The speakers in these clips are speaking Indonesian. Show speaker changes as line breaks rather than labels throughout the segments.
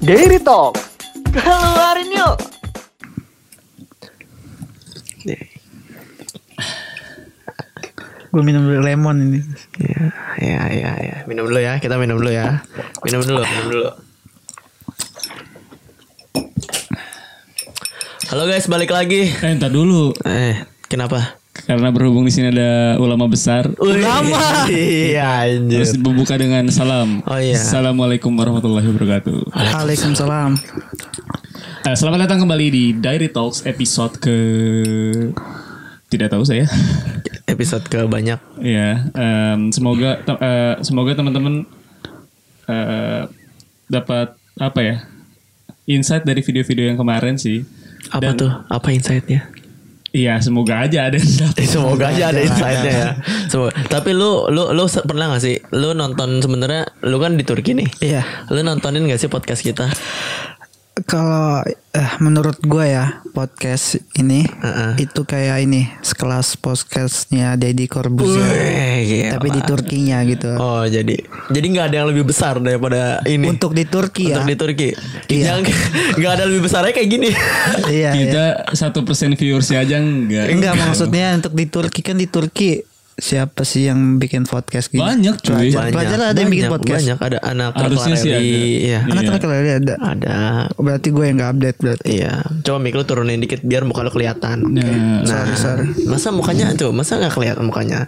Dairy Talk.
Keluarin yuk.
Gue minum dulu lemon ini.
Ya, ya, ya, ya. Minum dulu ya, kita minum dulu ya. Minum dulu, minum dulu. Halo guys, balik lagi.
Eh, entar dulu.
Eh, kenapa?
Karena berhubung di sini ada ulama besar.
Ulama. Iya,
Terus
anjir.
dibuka dengan salam.
Oh, iya.
Assalamualaikum warahmatullahi wabarakatuh.
Waalaikumsalam.
Eh, selamat datang kembali di Diary Talks episode ke tidak tahu saya.
Episode ke banyak.
ya, em, semoga te- eh, semoga teman-teman eh, dapat apa ya? Insight dari video-video yang kemarin sih.
Apa
Dan-
tuh? Apa insight-nya?
Iya, semoga aja ada yang dapat.
Eh, semoga aja ada insight-nya ya. Semoga. Tapi lu lu lu se- pernah gak sih lu nonton sebenarnya lu kan di Turki nih.
Iya.
Lu nontonin gak sih podcast kita?
Kalau eh, menurut gua ya podcast ini
Heeh.
itu kayak ini sekelas podcastnya Deddy Corbuzier
Wih, Eh, gila.
tapi di Turkinya gitu.
Oh jadi jadi nggak ada yang lebih besar daripada ini
Untuk di Turki
Untuk
ya.
di Turki.
Iya.
Yang nggak ada lebih besarnya kayak gini.
iya. iya.
kita satu persen viewers aja
ya.
enggak
Enggak maksudnya untuk di Turki kan di Turki siapa sih yang bikin podcast gitu?
banyak cuy
Banyak. Pelajar ada yang
banyak,
bikin podcast?
Banyak ada anak
Harusnya sih
Clarelli,
ada.
Iya.
Anak
Iya.
anak lagi ada. Oh,
Ada.
Berarti gue yang nggak update berarti.
Iya. Coba mic lu turunin dikit biar muka lu kelihatan.
Nah,
Sorry sorry.
Masa mukanya tuh, masa nggak kelihatan mukanya?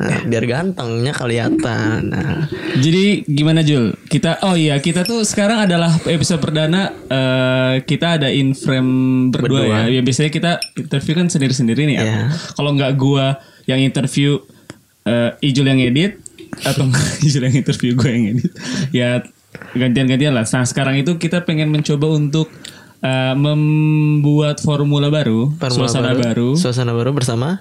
Nah, biar gantengnya kelihatan. Nah,
jadi gimana Jul kita oh iya kita tuh sekarang adalah episode perdana eh, kita ada in frame berdua,
Berdua.
ya ya biasanya kita interview kan sendiri sendiri nih ya
Iya.
kalau nggak gua yang interview eh, Ijul yang edit atau nggak Ijul yang interview gua yang edit ya gantian-gantian lah nah sekarang itu kita pengen mencoba untuk eh, membuat formula baru
Formula
suasana baru,
Suasana baru bersama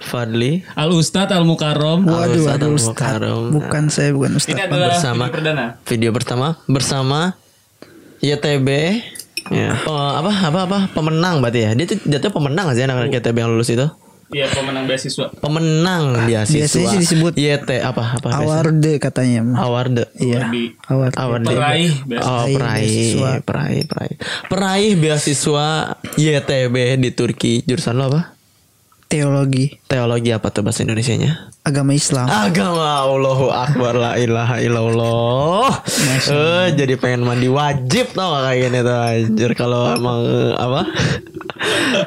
Fadli.
Al Ustadz Al Mukarram
Waduh,
Ustadz
aduh,
Al-Mukarram.
Ustaz. Bukan saya, bukan
Ini
Ustaz.
adalah
bersama.
video perdana.
video pertama bersama YTB ya Oh, apa apa apa pemenang berarti ya dia tuh dia tuh pemenang nggak sih anak-anak
Oh.
YTB yang lulus itu
Iya pemenang beasiswa.
pemenang biasiswa
Ah, Biasanya sih disebut
YT apa apa
Awarde katanya.
award
Iya.
Di
Awarde.
award
Peraih beasiswa.
oh peraih
beasiswa.
peraih peraih peraih beasiswa YTB di Turki jurusan lo apa
Teologi,
teologi apa tuh bahasa Indonesianya
agama Islam.
agama Allahu Akbar la ilaha illallah eh jadi pengen mandi wajib tau gak kayak gini tuh anjir kalau emang eh, apa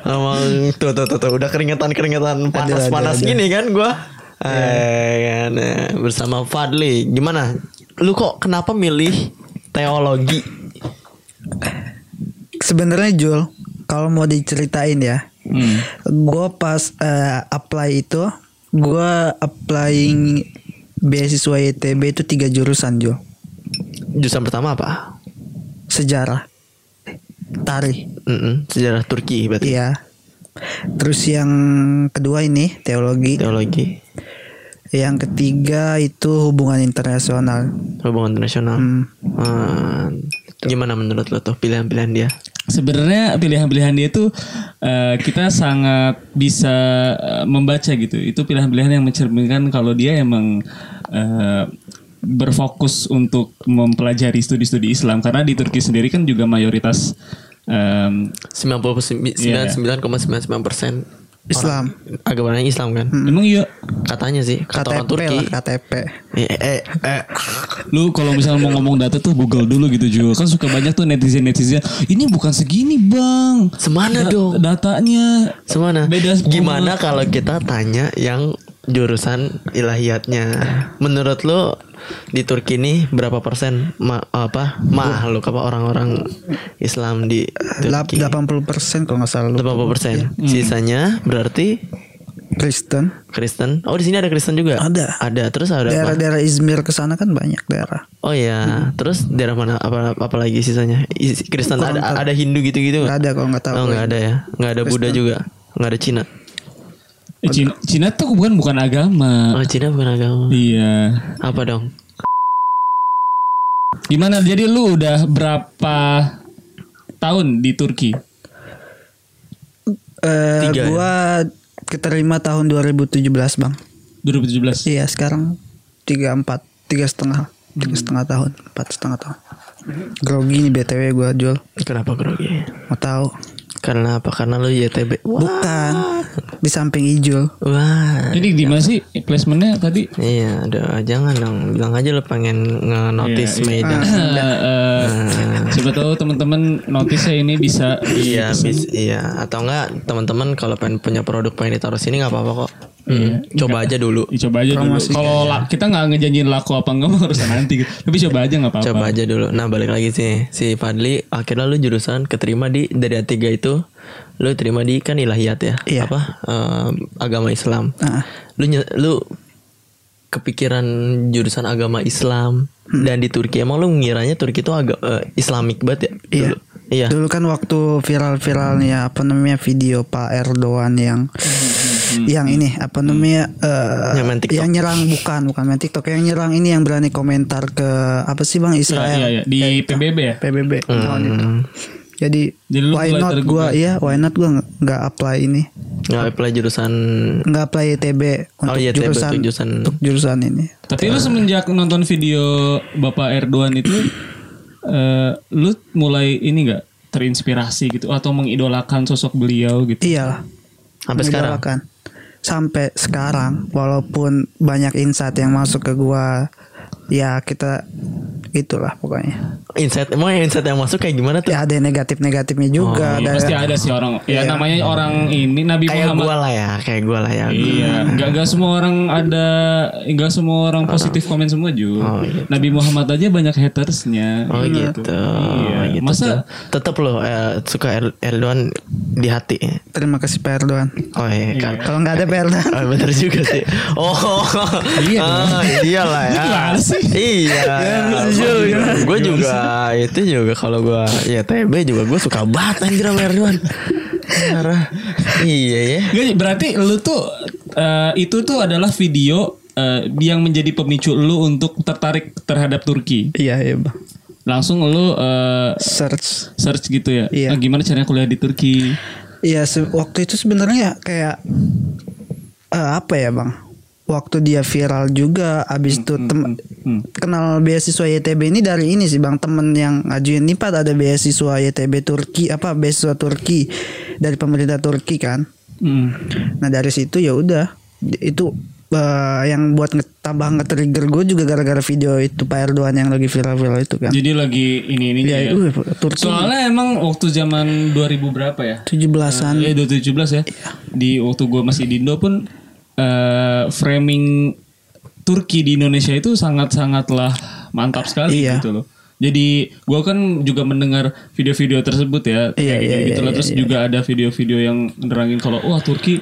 emang tuh tuh tuh, tuh, udah keringetan keringetan panas panas gini kan gua eh kan eh, bersama Fadli gimana lu kok kenapa milih teologi
Sebenarnya Jul, kalau mau diceritain ya,
Hmm.
gue pas eh, apply itu, gue applying beasiswa YTB itu tiga jurusan Jul,
jurusan pertama apa
sejarah, tari,
Mm-mm, sejarah Turki berarti
iya. Terus yang kedua ini teologi,
teologi
yang ketiga itu hubungan internasional.
hubungan internasional Hmm, gimana menurut lo tuh pilihan-pilihan dia
Sebenarnya pilihan-pilihan dia itu eh, kita sangat bisa eh, membaca gitu. Itu pilihan-pilihan yang mencerminkan kalau dia emang eh, berfokus untuk mempelajari studi-studi Islam karena di Turki sendiri kan juga mayoritas em, Iya,
99,99 persen
Islam.
agamanya Islam kan
emang iya
katanya sih kata orang
KTP
Turki
lah KTP.
Eh, eh, eh.
lu kalau misalnya mau ngomong data tuh Google dulu gitu juga kan suka banyak tuh netizen netizen ini bukan segini bang
Semana
Da-
dong.
datanya
Semana.
Beda sepuluh.
Gimana kalau kita tanya yang jurusan ilahiyatnya? Menurut lo di Turki ini berapa persen ma apa makhluk apa orang-orang Islam di
Lap-
Turki?
80% kalau nggak salah lu.
80 persen. Sisanya berarti
Kristen.
Kristen. Oh di sini ada Kristen juga.
Ada.
Ada. Terus ada apa?
Daerah-daerah Izmir ke sana kan banyak daerah.
Oh ya, terus daerah mana apa apalagi sisanya? Is- Kristen ada ada Hindu gitu-gitu nggak?
Gak ada kalau nggak tahu.
Oh nggak ada ya, nggak ada Buddha juga, nggak ada Cina.
Eh, Cina, Cina tuh bukan bukan agama
Oh Cina bukan agama.
iya
Apa dong?
gimana jadi lu udah berapa tahun di Turki
Eh,
Tiga ya?
gua keterima tahun 2017 bang.
2017
Iya. Hmm.
Iya sekarang tiga empat tiga setengah tiga setengah tahun empat setengah tahun. Grogi nih BTW gue jual.
Kenapa grogi?
Mau tahu?
Karena apa? Karena lu YTB. Wah.
Bukan.
Ah.
Di samping Ijul.
Wah.
Jadi di mana sih placementnya tadi?
Iya, udah jangan dong. Bilang aja lu pengen nge-notice
Iya, iya.
Medan.
Eh, eh, Siapa tahu teman-teman notice ini bisa di-
Iya, bis, iya. Atau enggak teman-teman kalau pengen punya produk pengen ditaruh sini nggak apa-apa kok. Hmm,
Iya.
coba aja dulu.
Coba aja dulu.
ya.
Kalau la- kita nggak ngejanjiin laku apa enggak mah urusan nanti. gitu. Tapi coba aja nggak apa-apa.
Coba aja dulu. Nah, balik lagi sih si Fadli akhirnya lu jurusan keterima di dari A3 itu lu terima di kan ilahiyat ya.
Iya.
Apa? Em, agama Islam.
Ah.
Lu nye- lu kepikiran jurusan agama Islam
Hmm.
dan di Turki emang lu ngiranya Turki itu agak Islamik banget ya?
Iya.
dulu? Iya.
Dulu kan waktu viral-viralnya apa namanya video Pak Erdogan yang
Hmm.
yang ini apa namanya
Hmm.
eh,
Yang main TikTok.
yang nyerang bukan bukan main TikTok yang nyerang ini yang berani komentar ke apa sih Bang
Iya,
Israel
iya, iya. Di
gitu.
PBB ya.
PBB
Hmm.
tahun itu. Jadi
Jadi lu
why
mulai
not
tergugah.
gua ya why not gua nggak- nggak apply ini
Nggak apply jurusan
nggak apply ITB untuk
Oh, ITB,
jurusan
untuk jurusan.
untuk jurusan ini.
Tapi lu semenjak nonton video Bapak Erdogan itu eh, lu mulai ini enggak terinspirasi gitu atau mengidolakan sosok beliau gitu.
Iyalah.
sampai sekarang.
mengidolakan. Sampai sekarang walaupun banyak insight yang masuk ke gua ya kita itulah pokoknya.
Insight emang insight yang masuk kayak gimana tuh?
Ya ada yang negatif-negatifnya juga
Oh, iya.
Ya,
ada
pasti ada sih orang. Ya namanya orang ini Nabi
kayak
Muhammad
gue lah ya, kayak gue lah ya.
Hmm.
Iya, nggak nggak semua orang ada, nggak semua
Oh.
orang positif komen semua juga. Nabi Muhammad aja banyak hatersnya.
iya. Oh gitu.
Iya.
gitu.
Masa-
tetap loh eh, suka Er- Erdogan di hati.
Terima kasih Pak Erdogan.
Oh iya kan.
Kalau nggak ada Pak Erdogan
Oh, bener juga sih. Oh, iya, iyalah ya.
Gimana sih?
Iya. gue juga itu juga kalau gue ya TB juga gue suka banget anjir sama Erdogan. Parah. Iya ya.
Nggak, berarti lu tuh eh, itu tuh adalah video eh, yang menjadi pemicu lu untuk tertarik terhadap Turki.
Iya iya Bang.
Langsung lu eh,
Search.
search gitu ya.
Iya.
"Ah, gimana caranya kuliah di Turki?
Iya se- waktu itu sebenarnya ya kayak eh, apa ya Bang? Waktu dia viral juga abis itu tem-
hmm.
kenal beasiswa YTB ini dari ini sih Bang temen yang ngajuin nipat ada beasiswa YTB Turki apa beasiswa Turki dari pemerintah Turki kan.
Hmm.
Nah dari situ ya udah itu eh, yang buat nge- tambah nge-trigger gue juga gara-gara video itu Pak Erdogan yang lagi viral-viral itu
Iya.
kan.
Jadi lagi ini ini ya.
Ya, uh, Turki
Soalnya emang waktu zaman 2000 berapa ya?
17-an
Iya 2017 ya. Di waktu gue masih di Indo pun eh, framing Turki di Indonesia itu sangat-sangatlah mantap sekali
Iya.
gitu loh. Jadi gue kan juga mendengar video-video tersebut ya, kayak
Iya, iya,
gitu- gitu
iya,
lah. Terus juga ada video-video yang nerangin kalau wah Turki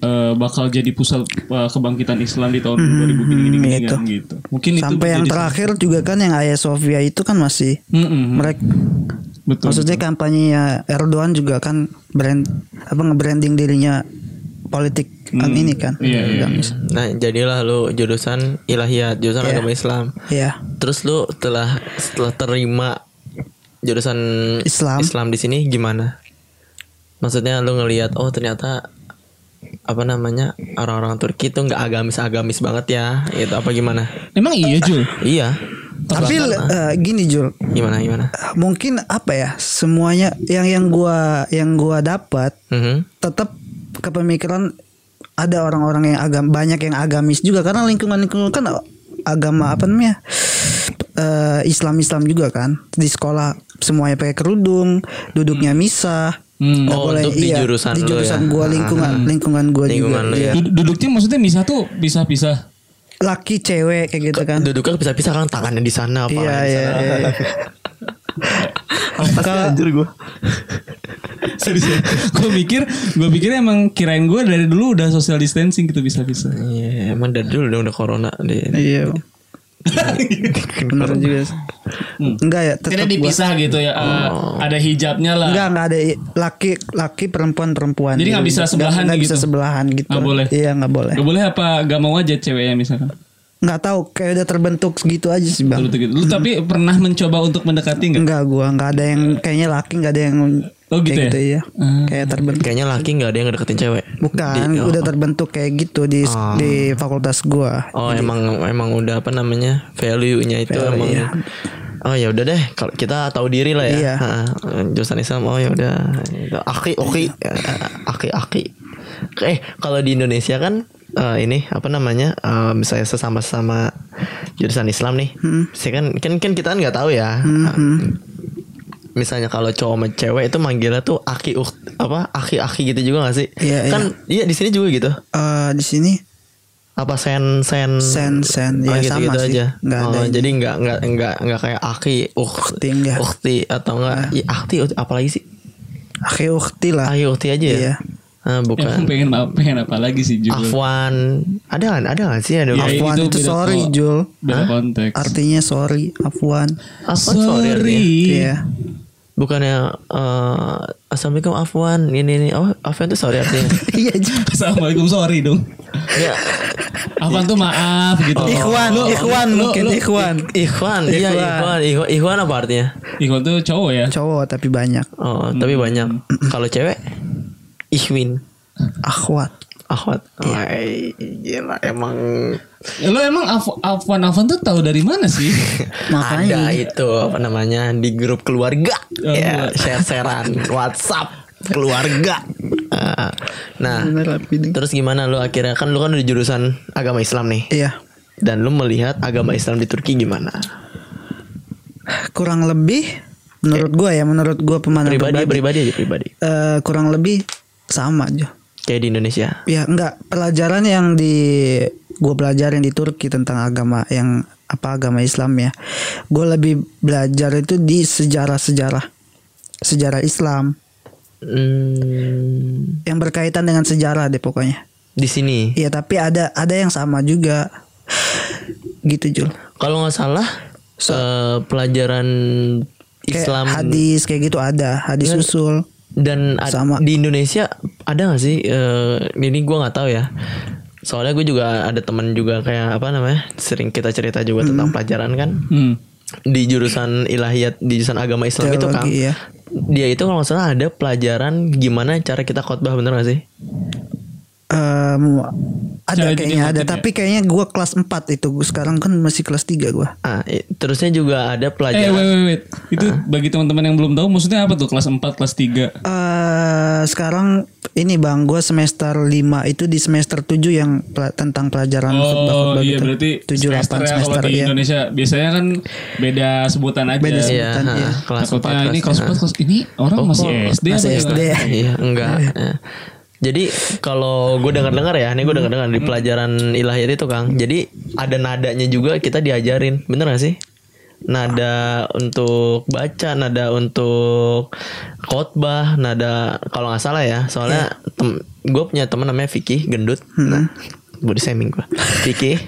eh, bakal jadi pusat eh, kebangkitan Islam di tahun 2000 gini gini, gini, kan, gitu. Mungkin
Mhm, sampai
itu
yang
menjadi-
terakhir juga kan yang Ayah Sofia itu kan masih
Mm-mm,
mereka
Hmm, betul.
maksudnya kampanye Erdogan juga kan brand apa nge-branding dirinya politik kan ini kan
Iya, iya,
Agamis.
Nah jadilah lu jurusan ilahiyat, jurusan agama Islam.
Iya.
Terus lu telah setelah terima jurusan
Islam.
Islam di sini gimana? Maksudnya lu ngelihat oh ternyata apa namanya orang-orang Turki tuh nggak agamis-agamis banget ya itu apa gimana?
Emang iya Jul.
Iya.
tapi eh, gini Jul
Gimana gimana?
mungkin apa ya semuanya yang yang gua yang gua dapat
Mhm.
tetap kepemikiran ada orang-orang yang agam banyak yang agamis juga karena lingkungan lingkungan kan agama apa namanya eh, Islam Islam juga kan di sekolah semuanya pakai kerudung duduknya misah
Hmm.
Nggak iya,
Oh, untuk di jurusan
di
lu
jurusan
ya?
gua lingkungan lingkungan gua
Lingkungan
juga
lu ya.
Dud- Duduknya maksudnya misah tuh pisah-pisah.
laki cewek kayak gitu kan
Duduknya pisah-pisah kan tangannya di sana apa
iya iya iya. Kalau-
gua.
Serius Gue mikir Gue pikir emang Kirain gue dari dulu Udah social distancing gitu Bisa-bisa
Iya, emang dari dulu dong udah corona di
iya benar juga sih.
Hmm.
enggak ya tetap
Tidak dipisah gitu ya eh, Ada hijabnya lah
Oh. Enggak, enggak ada i- laki laki perempuan perempuan.
Nah. Jadi nggak bisa sebelahan
Enggak
gitu?
bisa sebelahan gitu.
Nggak boleh?
Iya, enggak boleh.
Gak boleh apa Gak mau aja ceweknya misalkan
Enggak tahu kayak udah terbentuk segitu aja sih, Bang.
Betul-betul gitu. Lu tapi pernah mencoba Untuk mendekati gak?
Enggak gua, enggak ada yang kayaknya laki enggak ada yang
Eh. Oh, gitu
kayak
ya?
iya. Kayak terbentuk.
Kayaknya laki nggak ada yang ngedeketin cewek.
Bukan,
Di- oh. Ah.
udah terbentuk kayak gitu di di fakultas gua.
Oh emang emang udah apa namanya value-nya itu emang Oh ya udah deh, kalau kita tahu diri lah ya.
Iya.
Ah, jurusan Islam. Oh ya udah. Gitu. Aki, oki,
Iya.
eh, aki, aki. Eh kalau di Indonesia kan eh, ini apa namanya? Eh, misalnya sesama-sama jurusan Islam nih.
Hmm.
Sih kan, kan kan kita kan nggak tahu ya. Misalnya kalau cowok sama cewek itu manggilnya tuh aki uk- apa aki aki gitu juga gak sih?
Iya,
kan iya di sini juga gitu.
Eh, di sini
Apa sen sen
Sen, sen.
oh,
Iya,
gitu,
sama
gitu
sih.
aja.
Nggak
Oh,
ada ini.
jadi nggak nggak nggak nggak kayak aki ukti
Ukti, nggak.
ukti atau enggak ya. akti ukti, apalagi sih
akhi ukti lah.
ayo ukti aja ya
Iya.
Ah,
Emang
bukan
Ya, pengen apa pengen apa lagi sih Jul?
afwan ada kan ada kan sih ada
Ya,
Afwan itu
beda
sorry,
ko-
Jul.
Beda konteks.
Artinya sorry, afwan.
afwan sorry, artinya.
Iya.
bukannya eh, assalamualaikum afwan ini ini oh afwan tuh sorry artinya
Iya. Jul.
Assalamualaikum sorry dong.
ya
Apa tuh maaf gitu.
Ikhwan,
Lu-
ikhwan
lu-
mungkin
lu-
ikhwan.
ikhwan iya
Ikhwan.
ikhwan ikhwan ikhwan apa artinya
Ikhwan tuh cowok ya.
Cowok tapi banyak.
oh tapi banyak kalau cewek ikhwin
Akhwat.
akhwat
Iya.
Ay, gila emang
Lo emang Af- Afwan Afwan tuh tahu dari mana sih?
ada
Makanya
itu apa namanya di grup keluarga
Oh,
ya
iya.
share-sharean WhatsApp keluarga Ah, nah
bener rapi deh.
terus gimana lu akhirnya kan lu kan udah jurusan agama Islam nih
Iya.
dan lu melihat agama Islam di Turki gimana
Kurang lebih menurut gua ya, menurut gua pemandangan
pribadi
pribadi,
pribadi aja pribadi
eh, kurang lebih sama aja.
kayak di Indonesia
Ya enggak pelajaran yang di gue pelajarin di Turki tentang agama yang apa agama Islam ya. Gue lebih belajar itu di sejarah-sejarah sejarah Islam
Hmm,
yang berkaitan dengan sejarah deh pokoknya.
di sini
Iya tapi ada ada yang sama juga gitu Jul.
kalau nggak salah eh, pelajaran
Kayak
Islam Iya.
hadis kayak gitu ada hadis
Nggak-
usul.
Dan ad-
Sama.
di Indonesia ada gak sih? eh, ini gue nggak tahu ya. Soalnya gue juga ada teman juga kayak apa namanya? Sering kita cerita juga tentang pelajaran kan
Hmm.
di jurusan ilahiyat, di jurusan agama Islam itu kan.
Teologi, ya.
Dia itu kalau nggak salah ada pelajaran gimana cara kita khotbah bener gak sih?
Eh, mau- ada
Cara jadi
kayaknya
khotib
ada
ya?
tapi kayaknya gue kelas 4 itu gua sekarang kan masih kelas 3 gue.
Ah, i- terusnya juga ada
Eh, wait,
pelajaran.
wait, wait. Itu bagi teman-teman yang belum tahu maksudnya apa tuh? Kelas 4, kelas 3.
eh sekarang ini bang gue semester 5 itu di semester 7 yang pela- tentang pelajaran
Oh
khotbah-khotbah
iya
gitu.
berarti
7
semester ya
8
kalau
semester
di
ya
Indonesia biasanya kan beda sebutan aja.
Beda
Iya,
sebutan,
ah,
iya.
kelas
Takutnya
empat,
ini kelas
ah.
4 kelas ini orang
Oh,
masih
kok
SD
masih
apa
SD
gimana?
ya
Iya, enggak. Ya. Jadi kalau gue dengar-dengar ya, ini gue dengar-dengar di pelajaran ilahiyat itu Kang. Jadi ada nadanya juga kita diajarin, bener gak sih? Nada untuk baca, nada untuk khotbah, nada kalau nggak salah ya. Soalnya gue punya teman namanya Vicky Gendut. Nah, body shaming gue. Vicky.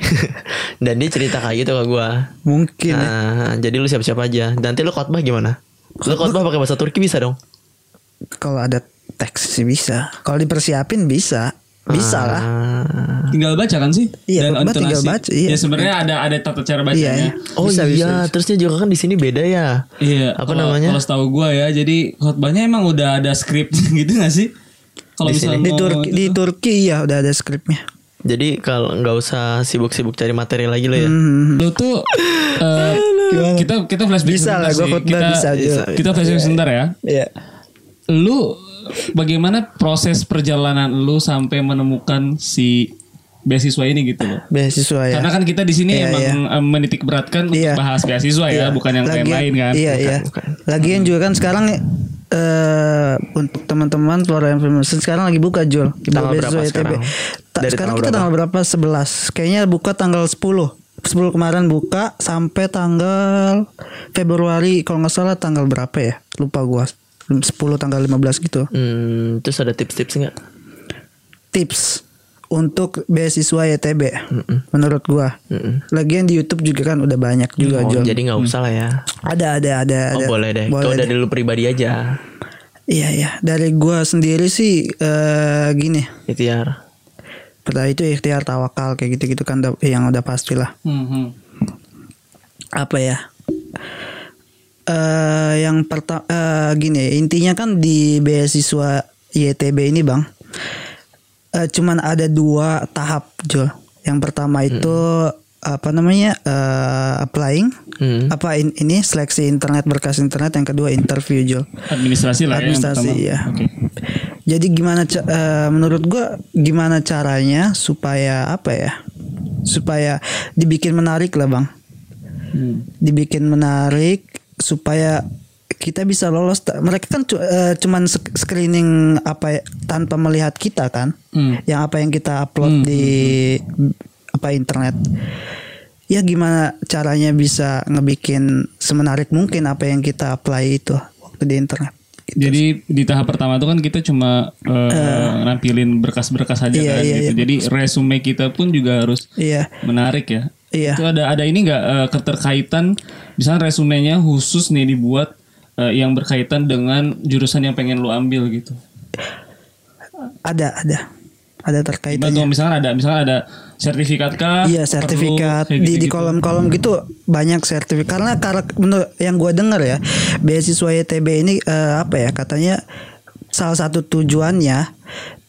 Dan dia cerita kayak gitu ke gue.
mungkin ya.
Nah, jadi lu siap-siap aja. Nanti lu khotbah gimana? Lu khotbah pakai bahasa Turki bisa dong?
kalau ada teks sih bisa kalau dipersiapin bisa bisa lah
Ah.
Tinggal baca kan sih?
Iya, khotbah tinggal baca, iya.
Ya sebenarnya ada ada tata cara
iya ya.
bacanya.
Oh
Bisa, bisa,
iya, terusnya juga kan di sini beda ya.
Iya.
Apa
kalau-
namanya?
Kalau setahu gua ya, jadi khotbahnya emang udah ada skrip gitu gak sih? Kalau misalnya
di
mau
Turki
itu
di
tuh.
Turki ya udah ada skripnya
Jadi kalau nggak usah sibuk-sibuk cari materi lagi lo ya.
Hmm.
Lu tuh eh, kita kita flashback
Mm-hmm. Bisa
sebentar
lah, gua
sih.
khotbah
kita,
bisa, Jul.
Kita flashback sebentar ya.
Iya
lu bagaimana proses perjalanan lu sampai menemukan si beasiswa ini gitu loh.
beasiswa ya
Karena kan kita di sini
Iya,
emang eh, menitik beratkan untuk
Iya.
bahas beasiswa ya, bukan yang
Lagian-
lain-lain kan. Hmm.
Iya, iya.
bukan.
Lagian juga kan sekarang eh untuk teman-teman Flora Information sekarang lagi buka Jul.
Tanggal
Beasiswa
berapa
ITB.
sekarang?
Ta-
Dari
sekarang
tanggal
kita tanggal berapa? 11. Kayaknya buka tanggal 10. 10 kemarin buka sampai tanggal Februari kalau nggak salah tanggal berapa ya? Lupa gua. 10 tanggal 15 gitu.
Hmm, terus ada tips-tips nggak?
Tips untuk beasiswa YTB menurut gua. Lagian di YouTube juga kan udah banyak juga
Oh,
Jul.
jadi nggak usah lah ya.
Ada ada ada
Oh
ada.
boleh deh. Kau dari lu pribadi aja.
Iya ya, dari gua sendiri sih eh gini.
Ikhtiar.
Pertama itu ikhtiar tawakal kayak gitu-gitu kan udah- yang udah pastilah.
Hmm, hmm.
Apa ya? Eh yang pertama gini, intinya kan di beasiswa YTB ini, Bang.
Hmm.
eh, cuman ada dua tahap, Jul. Yang pertama itu apa namanya eh, applying
Hmm.
apa in- ini seleksi internet berkas internet yang kedua interview Jul.
Administrasi lah
Administrasi,
ya.
iya.
yang pertama. Oke.
Jadi gimana ca- eh, menurut gua gimana caranya supaya apa ya? Supaya dibikin menarik lah, Bang.
Hmm.
Dibikin menarik supaya kita bisa lolos. Ta- Mereka kan cu- eh, cuman sc- screening apa ya, tanpa melihat kita kan?
Hmm.
Yang apa yang kita upload di apa internet. Ya gimana caranya bisa ngebikin semenarik mungkin apa yang kita apply itu waktu di internet.
Jadi di tahap pertama itu kan kita cuma eh, nampilin berkas-berkas aja
iya,
kan
iya,
gitu. Jadi resume kita pun juga harus
Iya.
menarik ya.
Iya.
Itu ada ada ini nggak eh, keterkaitan misalnya resumenya khusus nih dibuat eh, yang berkaitan dengan jurusan yang pengen lu ambil gitu.
ada ada ada
Gimana
terkaitannya
tuh misalnya ada misalnya ada sertifikat kah?
Nah, ya. iya
Perlu,
sertifikat
kayak
di di
gitu-gitu.
kolom-kolom gitu banyak sertifikat karena karak menurut yang gue dengar ya beasiswa YTB ini eh, apa ya katanya salah satu tujuannya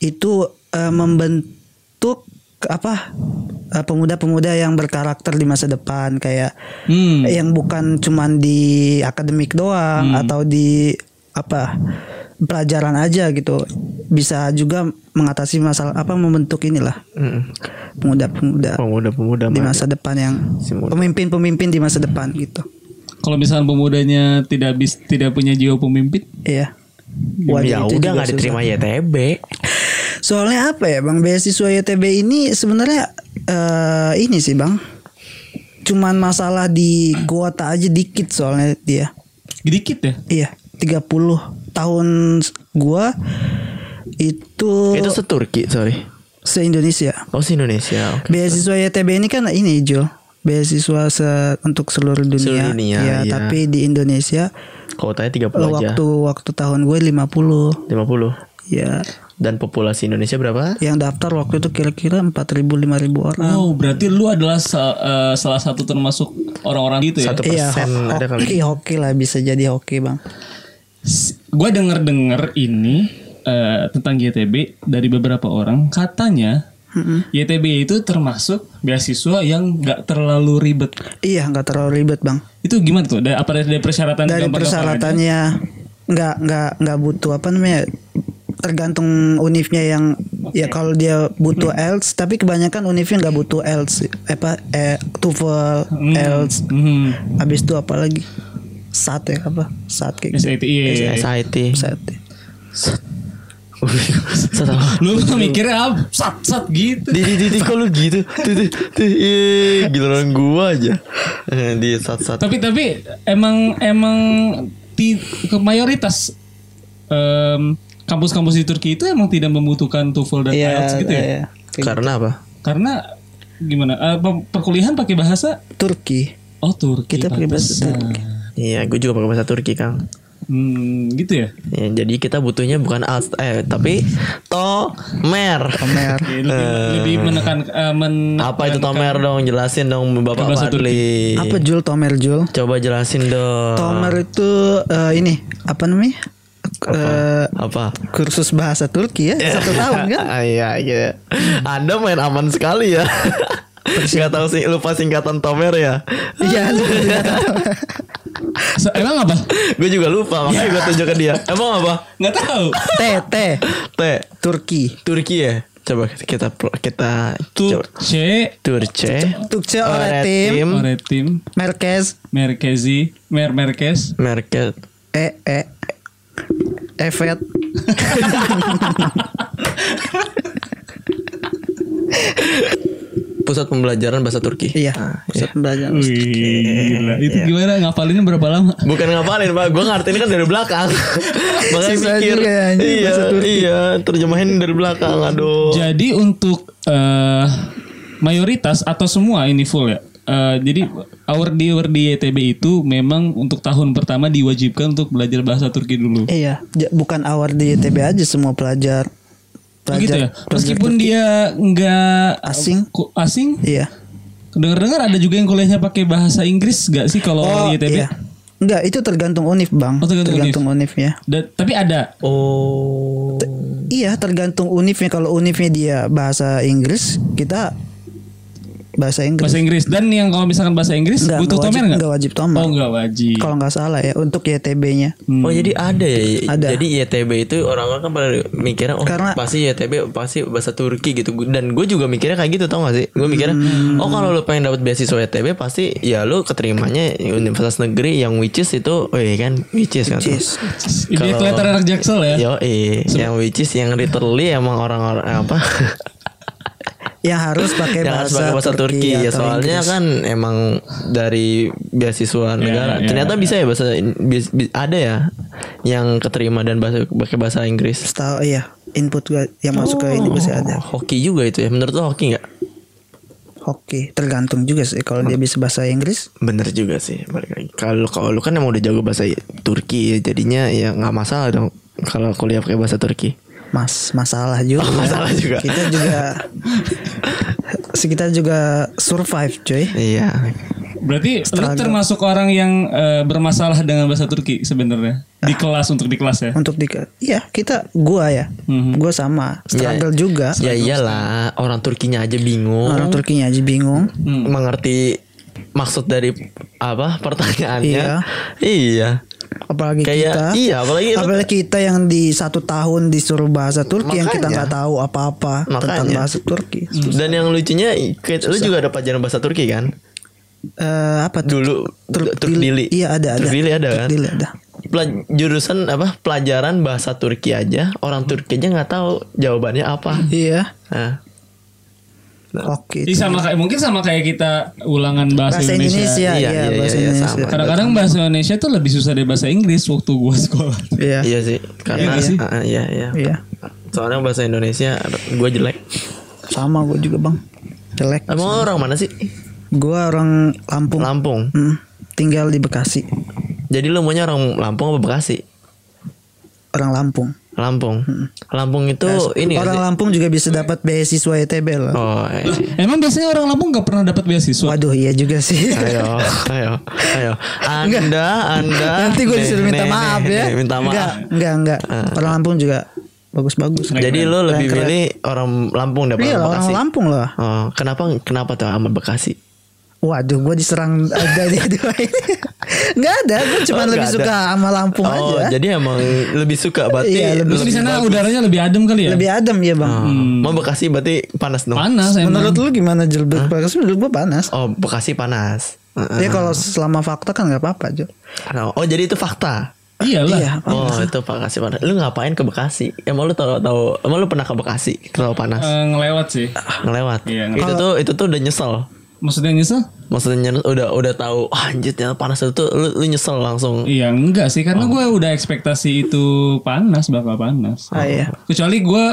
itu eh, membentuk apa eh, pemuda-pemuda yang berkarakter di masa depan kayak
Hmm.
yang bukan cuman di akademik doang
Hmm.
atau di apa pelajaran aja gitu bisa juga mengatasi masalah apa membentuk inilah pemuda-pemuda
Pemuda-pemuda
Hmm. di
maju.
masa depan yang
Si muda.
pemimpin-pemimpin di masa depan gitu
Kalau misalnya pemudanya tidak bis, tidak punya jiwa pemimpin,
iya Waduh,
Ya
itu
udah
juga
nggak
susah.
diterima YTB.
Soalnya apa ya Bang beasiswa YTB ini sebenarnya eh, ini sih Bang. Cuman masalah di kuota aja dikit soalnya dia.
dikit ya.
Iya, 30 tahun gua itu,
Itu seturki sorry.
se-Indonesia.
Oh si Indonesia. oke.
Beasiswa YTB ini kan ini Jo. Beasiswa se- untuk seluruh dunia.
Seluruh dunia,
Iya,
iya.
tapi di Indonesia
Kuotanya 30 aja.
waktu waktu tahun gue 50.
50.
Ya,
Dan populasi Indonesia berapa?
yang daftar waktu itu kira-kira 4000 5000 orang.
Oh, berarti lu adalah sa- eh, salah satu termasuk orang-orang gitu ya?
Satu
Iya,
persen
ho-
ada kali.
hoki, hoki lah bisa jadi hoki bang.
Gue denger-denger ini eh, tentang YTB dari beberapa orang katanya YTB itu termasuk beasiswa yang nggak terlalu ribet.
Iya, nggak terlalu ribet bang.
Itu gimana tuh? Dari, apa dari persyaratan?
Dari
gampang-gampang aja?
persyaratannya nggak nggak nggak butuh apa namanya tergantung univnya yang ya kalau dia butuh else tapi kebanyakan univnya nggak butuh else apa eh, TOEFL
Hmm,
else
hmm.
habis itu apa lagi sat ya apa sat kayak gitu ya.
SAT, iya, iya, iya.
SIT.
sat
Salah.
Lu tuh mikirnya apa? Sat sat gitu.
Di di di di, kok lu gitu? Tuh tuh tuh ih, giliran gua aja. Eh, Di sat-sat.
Tapi tapi emang emang ti, ke mayoritas em, kampus-kampus di Turki itu emang tidak membutuhkan TOEFL dan IELTS gitu ya.
iya.
Karena apa?
Karena gimana? eh, pe- perkuliahan pakai bahasa
Turki
Oh Turki.
kita pakai bahasa
pantesan.
Turki.
Iya, gue juga pakai bahasa Turki, Kang.
Hmm, gitu ya.
Ya, jadi kita butuhnya bukan alt eh tapi tomer.
Mer
Oke, Lebih, lebih menekan eh, men-
Ah.
Apa itu tomer dong? Jelasin dong Bapak
bahasa
Fadli.
apa Jul Tomer Jul
Coba jelasin dong.
Tomer itu eh, ini apa namanya Eh,
Apa?
kursus bahasa Turki ya satu tahun kan
Ah, Iya, iya. Anda main aman sekali ya. Gak tahu sih lupa singkatan Tomer ya.
Iya, lu udah tahu.
Se- emang apa?
gue juga lupa makanya gue tunjuk ke dia. Emang apa?
Nggak tahu.
TT
T
Turki.
Turki ya. Coba kita pro- kita
Tuh
coba.
C
Turce.
Turce oleh tim
Oretim
Merkez
Merkezi Mer Merkez
Merkel.
E E Evet.
Pusat pembelajaran bahasa Turki.
Iya.
Ah,
Pusat pembelajaran.
Wih,
ya.
gila. Itu gimana ngapalinnya berapa lama?
Bukan ngapalin pak, gue ngerti ini kan dari belakang Makanya
Susah
mikir
juga ya, anjing,
Iya,
bahasa Turki.
iya, terjemahin dari belakang, aduh
Jadi untuk eh, mayoritas atau semua ini full ya. Eh, jadi our di our di YTB itu memang untuk tahun pertama diwajibkan untuk belajar bahasa Turki dulu.
Iya, ja- bukan awar di ITB aja semua pelajar. Pelajar.
Begitu ya.
pelajar
Meskipun
Turki.
dia nggak
Asing.
ku- asing,
Iya.
dengar-dengar ada juga yang kuliahnya pakai bahasa Inggris nggak sih kalau
Oh,
YTB?
iya. Enggak, itu tergantung univ, Bang.
Oh, tergantung
univ. ya.
Da- tapi ada.
Oh
Iya, tergantung univnya. Kalau univnya dia bahasa Inggris, kita bahasa Inggris.
Bahasa Inggris dan yang kalau misalkan bahasa Inggris
Nggak,
butuh
nggak wajib-
tomer nggak?
nggak wajib tomer.
Oh nggak wajib.
Kalau nggak salah ya untuk YTB-nya.
Oh jadi ada ya.
Ada.
Jadi YTB itu orang-orang kan pada mikirnya oh
Karena-
pasti YTB pasti bahasa Turki gitu. Dan gue juga mikirnya kayak gitu tau gak sih? Gue mikirnya oh kalau lu pengen dapat beasiswa YTB pasti ya lu keterimanya universitas negeri yang which is itu, oh iya kan which is kan.
Cis.
Ini
Kalau- Iya.
kelihatan anak jaksel ya.
Yo, yang which is yang literally emang orang-orang apa?
Yang harus pakai
yang harus
bahasa,
pakai bahasa Turki, ya
atau
soalnya
Inggris.
kan emang dari beasiswa negara
ya,
ternyata
ya.
bisa ya bahasa bis- bis- ada ya yang keterima dan bahasa pakai bahasa Inggris
Setahu iya input gua yang masuk ke ini pasti ada.
hoki juga itu ya menurut lo hoki nggak
Hoki tergantung juga sih kalau dia bisa bahasa Inggris.
bener juga sih balik lagi kalau kalau lu kan emang udah jago bahasa Turki ya jadinya ya nggak masalah dong kalau kuliah pakai bahasa Turki
Mas masalah juga.
Oh, masalah juga.
Kita juga kita juga survive, cuy.
iya
Berarti lu
Struggle.
termasuk orang yang eh, bermasalah dengan bahasa Turki sebenarnya di
Ah.
kelas untuk di kelas ya.
Untuk di Iya, kita gua ya.
Mhm.
Gua sama struggle
Ya,
juga.
ya iyalah orang Turkinya aja bingung
Orang Turkinya aja bingung.
Hmm.
mengerti maksud dari apa pertanyaannya
Iya.
iya
apalagi
Kayak-
kita
iya, apalagi itu-
kita yang di satu tahun disuruh bahasa Turki yang
Makanya.
kita nggak tahu apa-apa tentang
Makanya. Mhm.
bahasa Turki
Dan yang lucunya kayak- lu juga ada pelajaran bahasa Turki kan?
Eh, apa tuh?
Dulu
Turk-
Turk Dili.
iya ada ada
Turk Dili ada
Turk
kan?
Dili ada
Pelaj- jurusan apa? Pelajaran bahasa Turki aja, orang
Hmm.
Turki aja nggak tahu jawabannya apa.
iya
Nah,
oke
Ih, sama kayak mungkin sama kayak kita ulangan bahasa,
Gitu. bahasa
Indonesia.
Indonesia
Iya,
iya,
iya,
bahasa
iya,
Indonesia
sama.
Kadang-kadang bahasa Indonesia tuh lebih susah dari bahasa Inggris waktu gua sekolah.
iya
iya sih, karena
Iya sih.
Ah, ah, iya iya.
iya
Soalnya bahasa Indonesia gue jelek.
sama gue juga bang jelek
Emang lu orang mana sih?
gue orang Lampung
Lampung.
Hmm, tinggal di Bekasi
Jadi lu maunya orang Lampung apa Bekasi?
orang Lampung Nah,
Lampung. Lampung itu ini nggak
Hmm. Ya, orang
sih?
Lampung juga bisa dapat beasiswa ITB loh
Oh, iya.
Emang biasanya orang Lampung nggak pernah dapat beasiswa.
waduh iya juga
Oh.
sih
Ayo, ayo, ayo. Anda, Anda.
Nanti gue
Nih,
disuruh minta
nih,
maaf
nih,
ya.
nih, minta maaf. Ah.
Enggak, enggak, enggak. Orang Lampung juga bagus-bagus.
Jadi
Keren,
lo lebih
keren.
milih orang Lampung daripada
Iya
orang
lah, orang
Bekasi.
Lampung lah.
Oh, kenapa kenapa tuh sama Bekasi?
Waduh, gue diserang ada di dua ini. Enggak ada, gue cuma
Oh,
lebih
nggak
suka
ada.
sama Lampung
oh,
aja.
jadi emang lebih suka berarti
Iya, lebih
Terus di sana
bagus.
udaranya lebih adem kali ya?
Lebih adem ya bang.
Oh, Mau Bekasi berarti panas dong.
Hmm. panas emang.
Menurut lu gimana Jelbek? Bagus menurut gue panas.
Oh, Bekasi panas. Heeh.
Ya kalau selama fakta kan nggak apa-apa Jo.
Oh, jadi itu fakta.
Iyalah.
Iya. Panas
oh, itu Bekasi panas. Lu ngapain ke Bekasi? Emang lu tahu tahu emang lu pernah ke Bekasi? Terlalu panas.
Eh, ngelewat sih.
ngelewat.
Iya,
itu tuh itu tuh udah nyesel.
Maksudnya nyesel?
Maksudnya udah udah tahu "Wah, anjir ternyata panas itu tuh lu, lu nyesel langsung.
Iya enggak sih karena gue udah ekspektasi itu panas bakal panas.
Ah, iya.
Kecuali gue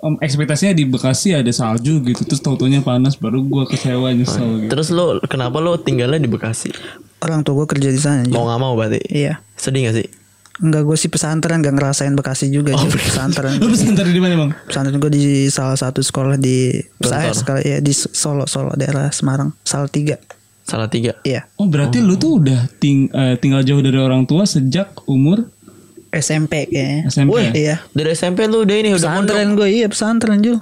em, ekspektasinya di Bekasi ada salju gitu terus tautonya panas baru gue kecewa nyesel gitu.
Terus lu kenapa lu tinggalnya di Bekasi?
Iya. Orang tua gue kerja di sana. Jo.
Mau nggak mau berarti.
Iya.
Sedih gak sih?
Enggak gue sih pesantren gak ngerasain Bekasi juga
Oh,
Jo. pesantren.
Lu pesantren di mana bang?
pesantren gue di salah satu sekolah di
Bentar.
saya sekali ya di Solo Solo daerah Semarang Salatiga
Salah tiga.
iya
Oh berarti lu tuh udah ting- eh, tinggal jauh dari orang tua sejak umur
SMP kayaknya
SMP.
Wih.
ya?
iya
Dari SMP lu udah ini udah mondok.
pesantren gue iya pesantren Jul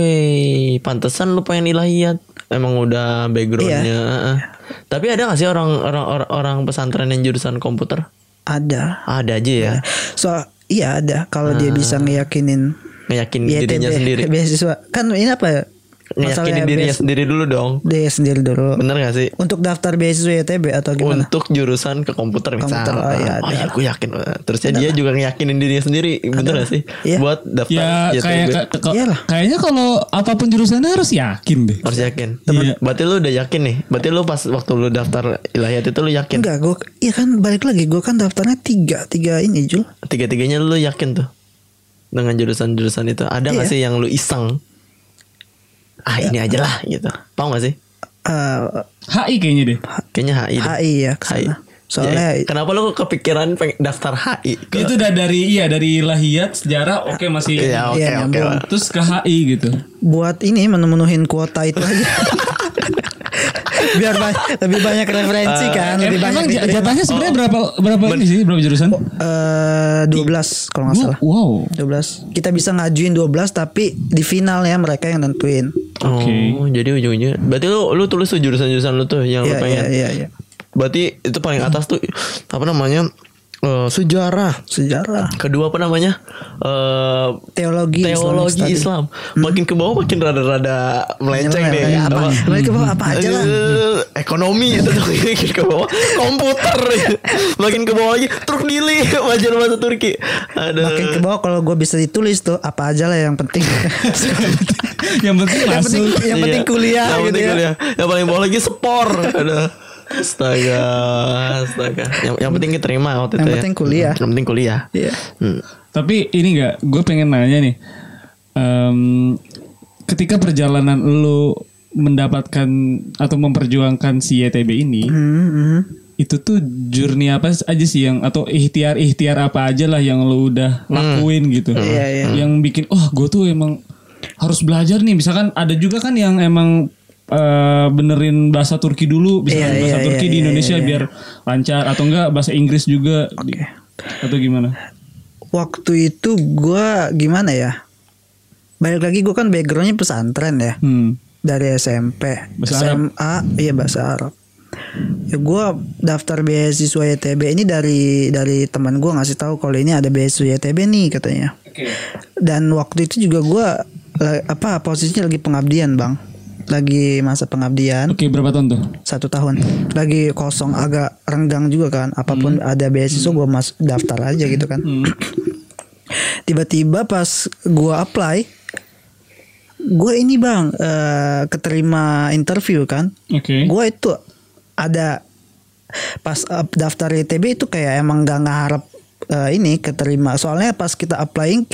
Wih, pantesan lu pengen ilahiyat. Emang udah backgroundnya. heeh. Tapi ada gak sih orang orang orang, orang pesantren yang jurusan komputer?
ada
Ada aja ya.
so iya ada kalau dia bisa ngeyakinin
Ngeyakinin dirinya Ah.
YTB
Hmm, sendiri.
beasiswa kan ini apa ya?
Ngeyakinin Hmm.
Masalahnya
dirinya
beas-
sendiri dulu dong.
dia sendiri dulu
Bener gak sih?
untuk daftar beasiswa YTB atau gimana
Untuk jurusan ke komputer misalnya.
Komputer, oh iya,
oh
ada.
iya, gue yakin. Terusnya dia juga ngeyakinin dirinya sendiri. Bener gak sih?
Iya.
Buat daftar YTB.
Ya kayak ka- ka-
Iyalah.
kayaknya kalau apapun jurusannya harus yakin deh.
harus yakin.
Iya.
Berarti lu udah yakin nih. Berarti lu pas waktu lu daftar ilahiyat itu lu yakin.
enggak gue iya kan balik lagi gue kan daftarnya tiga tiga ini Jul
Tiga-tiganya lu yakin tuh. Dengan jurusan-jurusan itu ada nggak
Iya.
sih yang lu iseng? Ah ini aja lah gitu. Tahu nggak sih?
Eh,
HI kayaknya deh.
Kayaknya HI. deh.
HI ya, kesana. Soalnya-
Ya, kenapa lu kepikiran pengen daftar HI? Ke-
Itu udah dari iya dari lahiyat sejarah oke masih
Iya, oke
Iya,
oke.
nyambung.
terus ke HI gitu.
buat ini menemenuhin kuota itu aja. biar ba- lebih banyak referensi
Ah.
kan lebih banyak Oh.
Emang
diterima.
jatahnya sebenarnya berapa berapa ini sih berapa jurusan?
Eh, 12 kalau nggak Oh, salah
Wow.
12 kita bisa ngajuin 12 tapi di final ya mereka yang nentuin
Oke.
Oh, jadi ujung-ujungnya. Berarti lu lu tulis tuh jurusan-jurusan lu tuh yang
Iya
lu pengen.
iya iya iya.
Berarti itu paling atas tuh apa namanya? eh, sejarah.
sejarah
Kedua apa namanya? Eh teologi
teologi Islamic Studies.
Islam. Makin ke bawah makin rada-rada melenceng
Nyeleneh,
deh.
Hmm. kayak apa? Makin ke bawah apa aja lah.
Eh, Ekonomi itu tuh makin ke bawah. Komputer. makin ke bawah lagi truk dili wajar bahasa Turki. Ada
makin ke bawah kalau gue bisa ditulis tuh apa aja lah yang penting
yang penting
yang penting
masuk.
yang penting
Iya.
kuliah
yang
gitu
penting
ya.
kuliah. Yang paling bawah lagi spor. Ada. Astaga, astaga. Yang, yang penting diterima waktu
Yang
itu. ya.
penting kuliah.
Yang penting kuliah.
Iya.
Hmm.
Tapi ini gak, gue pengen nanya nih. Em, ketika perjalanan lu mendapatkan atau memperjuangkan si YTB ini,
Hmm, hmm.
itu tuh journey apa aja sih yang atau ikhtiar-ikhtiar apa aja lah yang lu udah lakuin gitu.
Hmm. Iya, iya.
Yang bikin oh gue tuh emang harus belajar nih. Misalkan ada juga kan yang emang eh, benerin bahasa Turki dulu, misalkan
Iya,
bahasa
iya,
Turki
iya,
di
iya,
Indonesia biar lancar atau enggak bahasa Inggris juga Di- atau gimana?
waktu itu gue gimana ya balik lagi gue kan backgroundnya pesantren ya
Hmm.
dari SMP
Bahasa Arab.
SMA iya bahasa Arab ya gue daftar beasiswa YTB ini dari dari teman gue ngasih tahu kalau ini ada beasiswa YTB nih katanya dan waktu itu juga gue apa posisinya lagi pengabdian bang lagi masa pengabdian
Oke, berapa tahun tuh?
satu tahun lagi kosong agak renggang juga kan apapun ada beasiswa gua mas daftar aja gitu kan tiba-tiba pas gua apply gue ini bang eh, keterima interview kan
Oke.
gue itu ada pas up- daftar ITB itu kayak emang gak ngeharap eh, ini keterima soalnya pas kita applying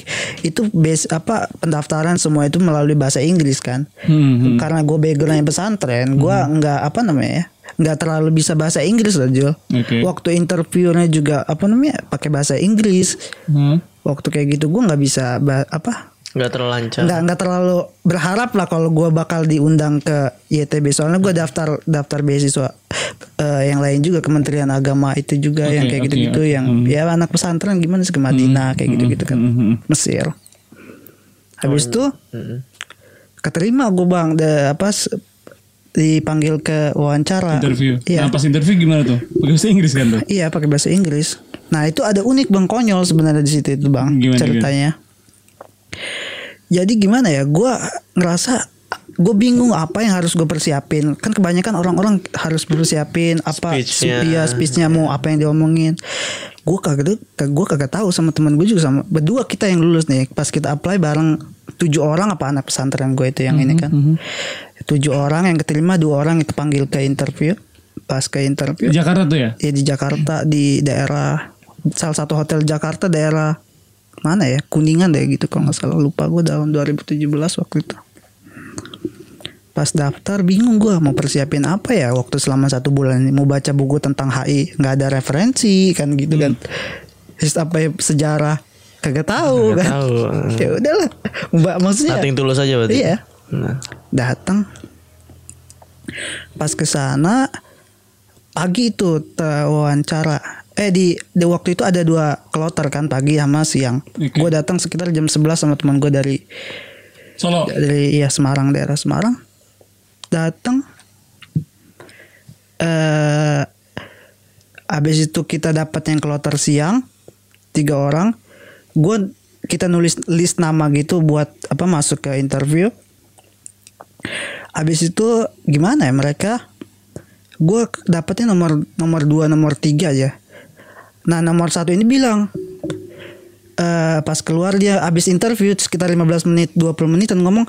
itu base apa pendaftaran semua itu melalui bahasa Inggris kan
Hmm, hmm.
karena gue backgroundnya pesantren gue nggak apa namanya ya nggak terlalu bisa bahasa Inggris loh Jul
Oke.
waktu interviewnya juga apa namanya pakai bahasa Inggris
Hmm.
waktu kayak gitu gue nggak bisa ba- apa
Gak terlancar.
nggak nggak terlalu berharap lah kalau gue bakal diundang ke YTB soalnya gue daftar daftar beasiswa eh, yang lain juga Kementerian Agama itu juga
Oke,
yang kayak
oke,
gitu-gitu
oke.
yang
Hmm.
ya anak pesantren gimana sih ke Madinah kayak gitu-gitu kan
hmm, hmm.
Mesir habis itu
Mm-mm.
keterima gue bang de, apa s- dipanggil ke wawancara
Interview.
iya
Nah, pas interview gimana tuh? Pakai bahasa Inggris kan tuh?
iya pakai bahasa Inggris nah itu ada unik bang konyol sebenarnya di situ itu bang
Gimana,
ceritanya jadi gimana ya gue ngerasa gue bingung apa yang harus gue persiapin kan kebanyakan orang-orang harus persiapin apa
Speech-nya.
iya, speech-nya mau apa yang diomongin gue kagak gue kagak tahu sama teman gue juga sama berdua kita yang lulus nih pas kita apply bareng tujuh orang apa anak pesantren gue itu yang ini kan tujuh orang yang keterima dua orang yang kepanggil ke interview pas ke interview
Jakarta tuh ya?
ya di Jakarta di daerah salah satu hotel Jakarta daerah mana ya kuningan deh gitu kalau nggak salah lupa gue tahun 2017 waktu itu pas daftar bingung gue mau persiapin apa ya waktu selama satu bulan ini. mau baca buku tentang HI nggak ada referensi kan gitu kan Terus apa ya, sejarah kagak tahu
Kagak
kan
tahu. eh.
ya udahlah mbak maksudnya
Nothing tulus aja berarti.
Iya.
Nah.
datang pas ke sana pagi itu te- wawancara eh di, di waktu itu ada dua kloter kan pagi sama siang
Oke.
gue datang sekitar jam 11 sama teman gue dari
Solo.
dari ya Semarang daerah Semarang datang eh habis itu kita dapat yang kloter siang tiga orang gue kita nulis list nama gitu buat apa masuk ke interview habis itu gimana ya mereka gue dapetnya nomor nomor dua nomor tiga aja nah nomor satu ini bilang eh pas keluar dia abis interview sekitar 15 menit 20 menit dan ngomong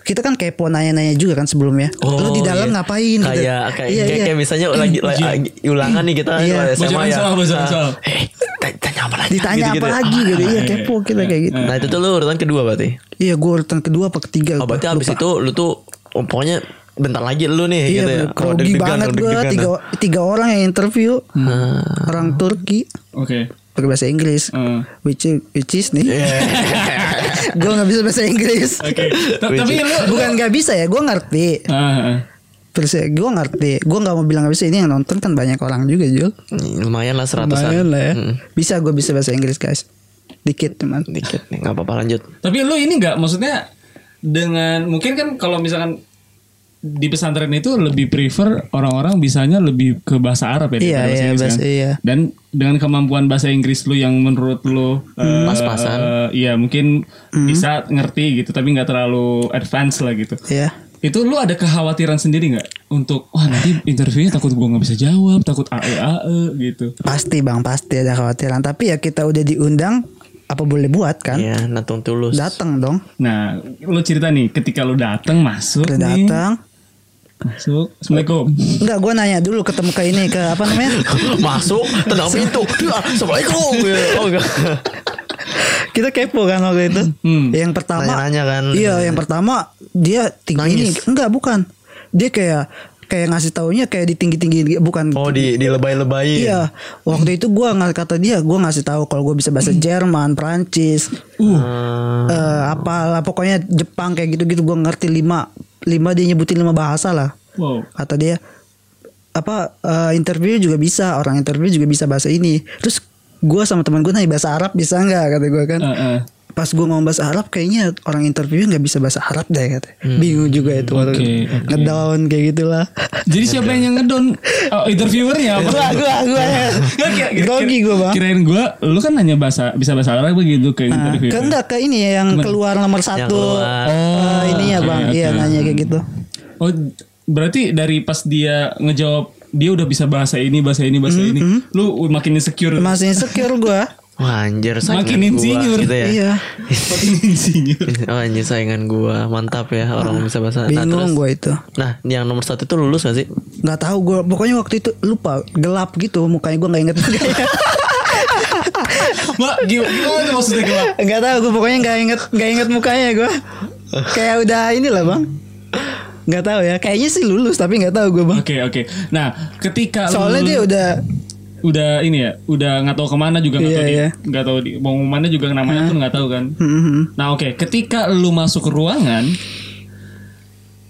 kita kan kepo nanya-nanya juga kan sebelumnya lu di dalam
iya.
ngapain
kayak
gitu.
kayak kayak, kayak misalnya lagi, lagi- ah,
ujian.
lagi ulangan nih kita
Iya.
SMA
Bocoran
ya.
soal, bocoran
Ah,
soal.
"Eh, tanya- tanya apa lagi?
ditanya
Gitu-gitu. ya. Ah,
apa lagi gitu iya
iya,
kepo kita kayak gitu
Nah itu tuh lu urutan kedua berarti.
iya gue urutan kedua apa ketiga
Oh
gua
berarti abis
lupa.
itu lu tuh oh, pokoknya bentar lagi lu nih
iya
gitu ya.
bro, grogi banget gue tiga tiga orang yang interview
Hmm. Nah.
orang Turki
Oke.
pakai bahasa Inggris
Heeh.
which is, which is nih gue nggak bisa bahasa Inggris
Oke. Ta- Tapi lu
bukan nggak bisa ya gue ngerti
Ah, ah.
perse gue ngerti gue nggak mau bilang bisa ini yang nonton kan banyak orang juga Jul
Lumayan lah seratusan.
lumayan lah ya
Mm,
bisa gue bisa bahasa Inggris guys dikit teman
dikit nih, nggak apa-apa lanjut.
Tapi lu ini nggak maksudnya dengan mungkin kan kalau misalkan di pesantren itu lebih prefer orang-orang bisanya lebih ke bahasa Arab ya
Iya,
daripada
iya,
Inggris,
bahasa- iya.
Dan dengan kemampuan bahasa Inggris lu yang menurut lu eh,
pas-pasan.
Iya, mungkin
Hmm.
bisa ngerti gitu tapi nggak terlalu advance lah gitu.
ya
Itu lu ada kekhawatiran sendiri nggak untuk wah nanti interviewnya takut gua nggak bisa jawab, takut ae ae gitu.
pasti bang pasti ada khawatiran tapi ya kita udah diundang apa boleh buat kan
Iya, natung tulus.
datang dong
Nah, lu cerita nih ketika lu dateng masuk
udah
nih,
datang
masuk. Assalamualaikum.
Enggak gue nanya dulu ketemu ke ini ke apa namanya
Masuk, tendang pintu. Ya, Assalamualaikum. Gitu. Oh, enggak.
kita kepo kan waktu itu
Hmm.
yang pertama
Nanya-nanya kan.
iya yang pertama dia tinggi
Nangis.
enggak bukan dia kayak kayak ngasih taunya kayak di tinggi tinggi bukan
Oh, di dilebay-lebayin.
Iya, waktu itu gua nggak kata dia, gua ngasih tahu kalau gue bisa bahasa Jerman, Prancis,
Hmm,
eh, apalah pokoknya Jepang kayak gitu-gitu gua ngerti lima, lima dia nyebutin lima bahasa lah.
Wow.
Kata dia apa eh, interview juga bisa, orang interview juga bisa bahasa ini. Terus gua sama teman gue nanya bahasa Arab bisa nggak kata gua kan.
Eh, eh.
Pas gua ngomong bahasa Arab kayaknya orang interview nggak bisa bahasa Arab deh kata. Bingung juga itu waktu
Oke,
itu.
oke.
Ngedown kayak gitulah.
Jadi siapa yang ngedon? Oh, interviewernya apa?
Ya, gua gua gua. Iya. Grogi gua, Bang.
Kirain gue, lu kan nanya bahasa bisa bahasa Arab begitu ke
Nah,
interviewer.
ke enggak ke ini ya yang keluar nomor satu
keluar.
Eh, ini ya
oke,
bang iya
oke.
nanya kayak gitu
Oh, berarti dari pas dia ngejawab dia udah bisa bahasa ini, bahasa ini, bahasa
Hmm,
ini. Lu makin insecure.
masih insecure gue
Wah, anjir saingan
Makin
gua,
insinyur.
gitu ya.
iya
makin insecure.
Oh, anjir saingan gua. Mantap ya orang bisa bahasa. Nah,
Ah, bingung
terus-
gue itu
Nah, yang nomor satu itu lulus gak sih?
nggak tahu gue pokoknya waktu itu lupa gelap gitu mukanya gue nggak inget
Mak, gimana, gimana tuh maksudnya gelap?
nggak tahu gue pokoknya nggak inget nggak inget mukanya gue kayak udah inilah bang nggak tahu ya kayaknya sih lulus tapi nggak tahu gue bang
Oke, oke. Nah, ketika lu-
soalnya dia udah
udah ini ya, udah nggak tahu kemana juga nggak
Iya,
tahu di-
iya. Hmm.
nggak tahu di mau kemana juga namanya pun nggak tahu kan. Nah oke, ketika lu masuk ke ruangan,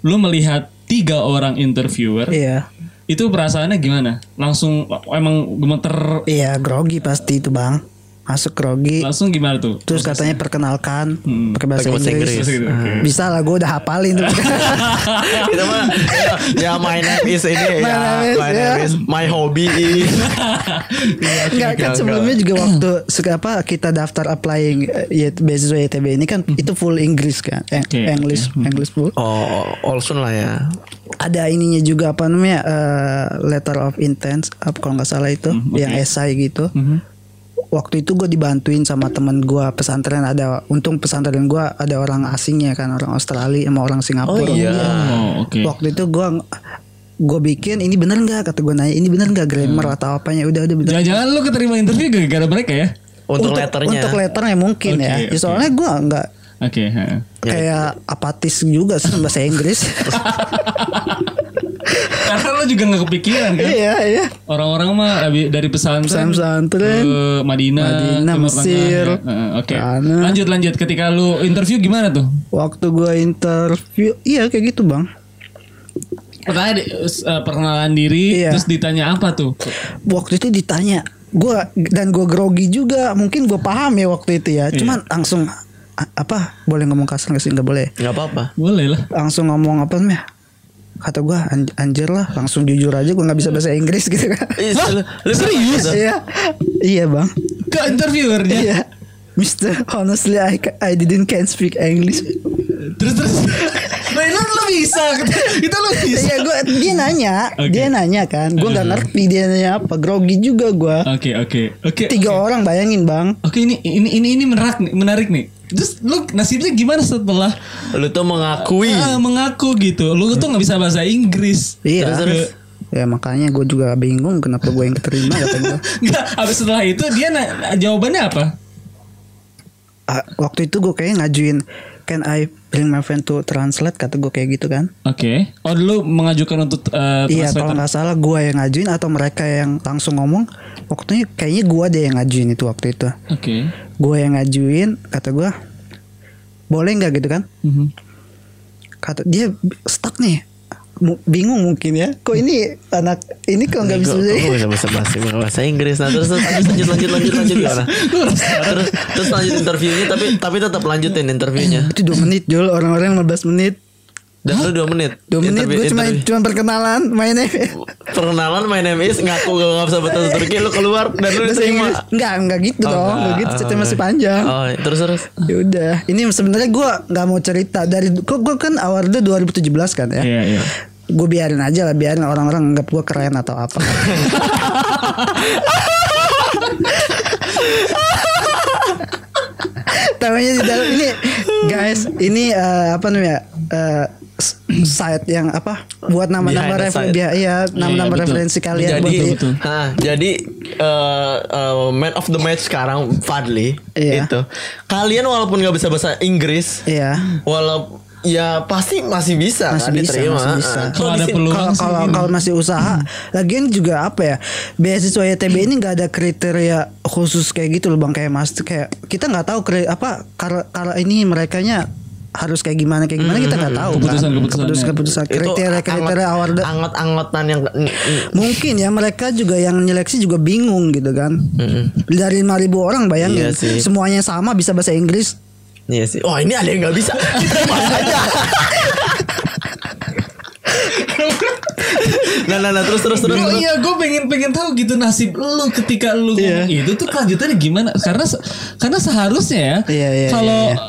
lu melihat tiga orang interviewer,
iya
itu perasaannya gimana? Langsung emang gemeter,
iya grogi pasti itu bang masuk grogi
langsung gimana tuh?
terus katanya perkenalkan pakai bahasa,
Pakai bahasa
Inggris.
Inggris.
Terus gitu, oke.
Bisa lah gue udah hafalin tuh.
Kita mah ya my name is ini
My
ya,
name is,
my name
ya. Iya,
is my hobby is
Enggak kan
enggak.
sebelumnya juga waktu suka apa kita daftar applying eh, ya, beasiswa YTB ini kan itu full Inggris kan. Eh,
Oke,
English English full.
Oh, Olsun lah ya.
Ada ininya juga apa namanya eh, letter of intent apa kalau nggak salah itu
Hmm,
yang esai gitu. Waktu itu gue dibantuin sama temen gue pesantren ada untung pesantren gue ada orang asingnya kan orang Australia sama orang Singapura.
Oh oke.
Waktu itu gue gue bikin ini bener nggak kata gue nanya ini bener
Hmm.
nggak grammar atau apanya udah udah bener
Jangan-jangan lu keterima interview gara-gara mereka ya?
Untuk, letternya.
untuk letternya mungkin
Oke,
ya. Ya,
oke. Iya,
soalnya gue nggak
Oke. ha.
kayak apatis juga sih sama bahasa Inggris
Karena lu juga nggak kepikiran kan?
iya iya
Orang-orang mah abi- dari pesantren,
Pesantren,
ke Madinah,
Madinah,
Timur Tengah,
Mesir,
ya. Heeh, Oke.
sana.
Lanjut lanjut. Ketika lu interview gimana tuh?
waktu gue interview iya kayak gitu bang
Pertanyaan di- s- eh, perkenalan diri,
Iya.
terus ditanya apa tuh?
waktu itu ditanya gue dan gue grogi juga mungkin gue paham ya waktu itu ya
Iya.
cuman langsung a- apa boleh ngomong kasar nggak sih nggak boleh
Gak apa-apa.
Boleh lah.
langsung ngomong apa namanya kata gue "An- anjir lah langsung jujur aja gue nggak bisa bahasa Inggris gitu kan
Iya, serius?
iya iya bang
Ke interviewernya.
iya Mister, honestly, I, ca- I didn't can speak English.
Iya. Terus terus. Nah, itu lo bisa. Itu lo bisa.
Iya gue dia nanya,
Oke.
dia nanya kan, gue nggak ngerti dia nanya apa, grogi juga gue.
Oke, oke. Oke.
Tiga orang bayangin bang,
Oke, ini ini ini ini menarik nih, menarik nih. Terus lu nasibnya gimana setelah
Lu tuh mengakui.
ah, mengaku gitu? Lu tuh nggak bisa bahasa Inggris.
iya.
Terus, terus.
Ya makanya gue juga bingung kenapa gue yang keterima kata gue.
Enggak, habis setelah itu dia na- jawabannya apa?
Ah, waktu itu gue kayaknya ngajuin, can I bring my friend to translate kata gue kayak gitu kan.
Oke. Oh, lu mengajukan untuk
Nah,
eh, translator.
Iya
kan?
kalau nggak salah gue yang ngajuin atau mereka yang langsung ngomong, waktunya kayaknya gue deh yang ngajuin itu waktu itu.
Oke.
Gue yang ngajuin kata gue, boleh nggak gitu kan?
Mhm.
kata dia stuck nih mu- bingung mungkin ya kok ini anak ini kok nggak bisa
Gue bisa bahasa bahasa bahasa Inggris. Nah terus terus lanjut lanjut lanjut lanjut gimana? terus terus lanjut interviewnya tapi tapi tetap lanjutin interviewnya.
itu dua menit Jol orang-orang 15 menit
Dan lu dua menit.
dua menit
Interview-
gue cuma
interview.
cuma perkenalan mainnya
perkenalan my name is ngaku gak nggak bisa bahasa Turki lu keluar dan lu
bahasa
terima.
Inggris enggak enggak gitu
Oh,
dong enggak
enggak.
gitu cerita
Oh,
masih
enggak.
panjang
Oh terus terus.
ya udah ini sebenarnya gue nggak mau cerita dari gue kan awalnya 2017 kan ya
Iya, iya.
gue biarin aja lah biarin orang-orang anggap gue keren atau apa Namanya di dalam ini guys ini eh, apa namanya eh, s- site yang apa buat
Behind
nama-nama
the
referensi
site.
iya nama-nama
betul.
referensi kalian
jadi,
buat
betul, betul.
Hah, jadi eh, eh, man of the match sekarang Fadli
Iya.
itu. Kalian walaupun nggak bisa bahasa Inggris,
iya
walau ya pasti masih bisa kan
Masih bisa,
diterima.
masih bisa.
Ah,
Kalau
di
ada
sini-
peluang
kalau
sih
kalau
gini.
kalau masih usaha lagian juga apa ya beasiswa YTB ini nggak ada kriteria khusus kayak gitu loh bang kayak mas kayak kita nggak tahu kri- apa karena karena ini mereka harus kayak gimana kayak gimana kita nggak tahu
Hmm, Keputusan-keputusannya.
keputusan keputusan
itu
kriteria kriteria
angot-
award
angot-angotan yang mm,
mungkin ya mereka juga yang nyeleksi juga bingung gitu kan
mm.
dari 5000 orang bayangin
Iya sih.
semuanya sama bisa bahasa Inggris
Iya sih. Wah, ini ada yang nggak bisa. Diterima aja. nah, nah, nah, terus terus terus.
Gua-
terus.
iya, gue pengen pengen tahu gitu nasib lu ketika lu
Iya.
ngomong itu tuh kelanjutannya gimana? Karena se- karena seharusnya ya,
Iya, iya,
kalau
iya,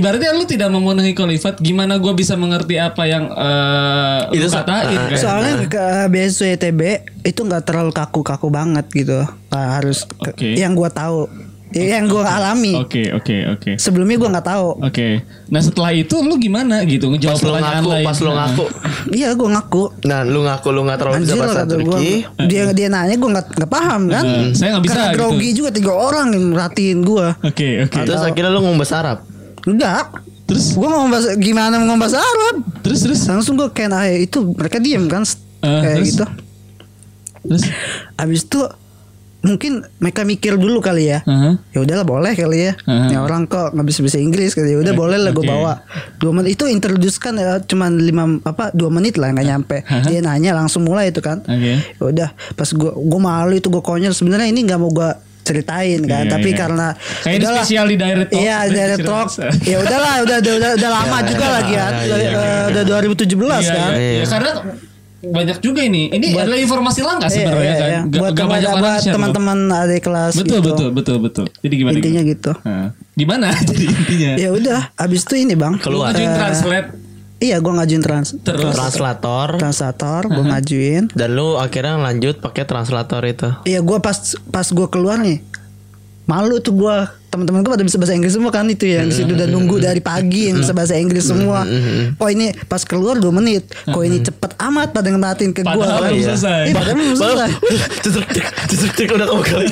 ibaratnya lu tidak memenuhi kolifat, gimana gue bisa mengerti apa yang eh, lu
Itu sa- ah,
katain? kan?
soalnya ke beasiswa YTB itu nggak terlalu kaku-kaku banget gitu nggak harus ke-
Oke.
yang gua tahu Ya, yang gua alami
Oke, oke, oke.
sebelumnya gua nggak tahu
Oke. Nah, setelah itu lu gimana gitu ngejawab
Pas lu
pertanyaan
ngaku,
lain?
pas lu
Nah.
ngaku.
iya gua ngaku
Nah, lu ngaku lu nggak terlalu bisa
anjir
bahasa
kata gua
Turki.
dia dia nanya gua nggak nggak paham kan
Hmm, saya nggak bisa,
Karena
gitu.
grogi juga tiga orang yang merhatiin gua
Oke, oke.
Terus akhirnya lu ngomong bahasa Arab.
enggak
Terus
gua ngomong bahasa gimana mau ngomong bahasa Arab
terus terus
langsung gua kayak nah, itu mereka diem kan s-
Eh,
kayak
terus?
gitu
terus.
abis itu mungkin mereka mikir dulu kali ya
Aha.
ya udahlah boleh kali ya
Aha.
ya orang kok nggak bisa bisa Inggris kali ya udah boleh lah gue
Hmm. oke.
bawa dua menit itu introduce kan ya, cuman lima apa dua menit lah nggak nyampe
Aha.
dia nanya langsung mulai itu kan
Hmm. Oke.
ya udah pas gue gue malu itu gue konyol sebenarnya ini nggak mau gue ceritain kan
Iya,
tapi
iya.
karena
Kayak ini
udahlah.
spesial di direct talk.
iya direct
Cerita.
talk ya udahlah udah udah udah, udah lama juga lagi ya
iya, iya,
Eh, udah 2017
Iya,
kan
iya, iya. karena banyak juga ini. Ini adalah informasi langka
Iya,
sebenarnya
iya,
kan.
iya.
Gak,
buat
gak
kepada-
banyak orang
buat
share, loh.
teman-teman adik kelas
Betul,
gitu.
betul, betul, betul. Jadi gimana?
intinya
gimana?
gitu
Hah. gimana jadi intinya?
ya udah abis itu ini bang Eh,
Keluar.
Lu ngajuin translate
iya gue ngajuin trans
terus.
Translator.
Kan. translator gue ngajuin
Dan lu akhirnya lanjut pakai translator itu.
Iya gue pas pas gue keluar nih malu tuh gue teman-teman gue pada bisa bahasa Inggris semua kan itu ya di situ udah nunggu dari pagi yang bisa bahasa Inggris semua. Oh ini pas keluar 2 menit. Kok ini cepet amat pada ngeliatin ke gue.
Padahal belum selesai.
Iya, padahal belum selesai.
Cusuk cek, cusuk cek udah kamu kali.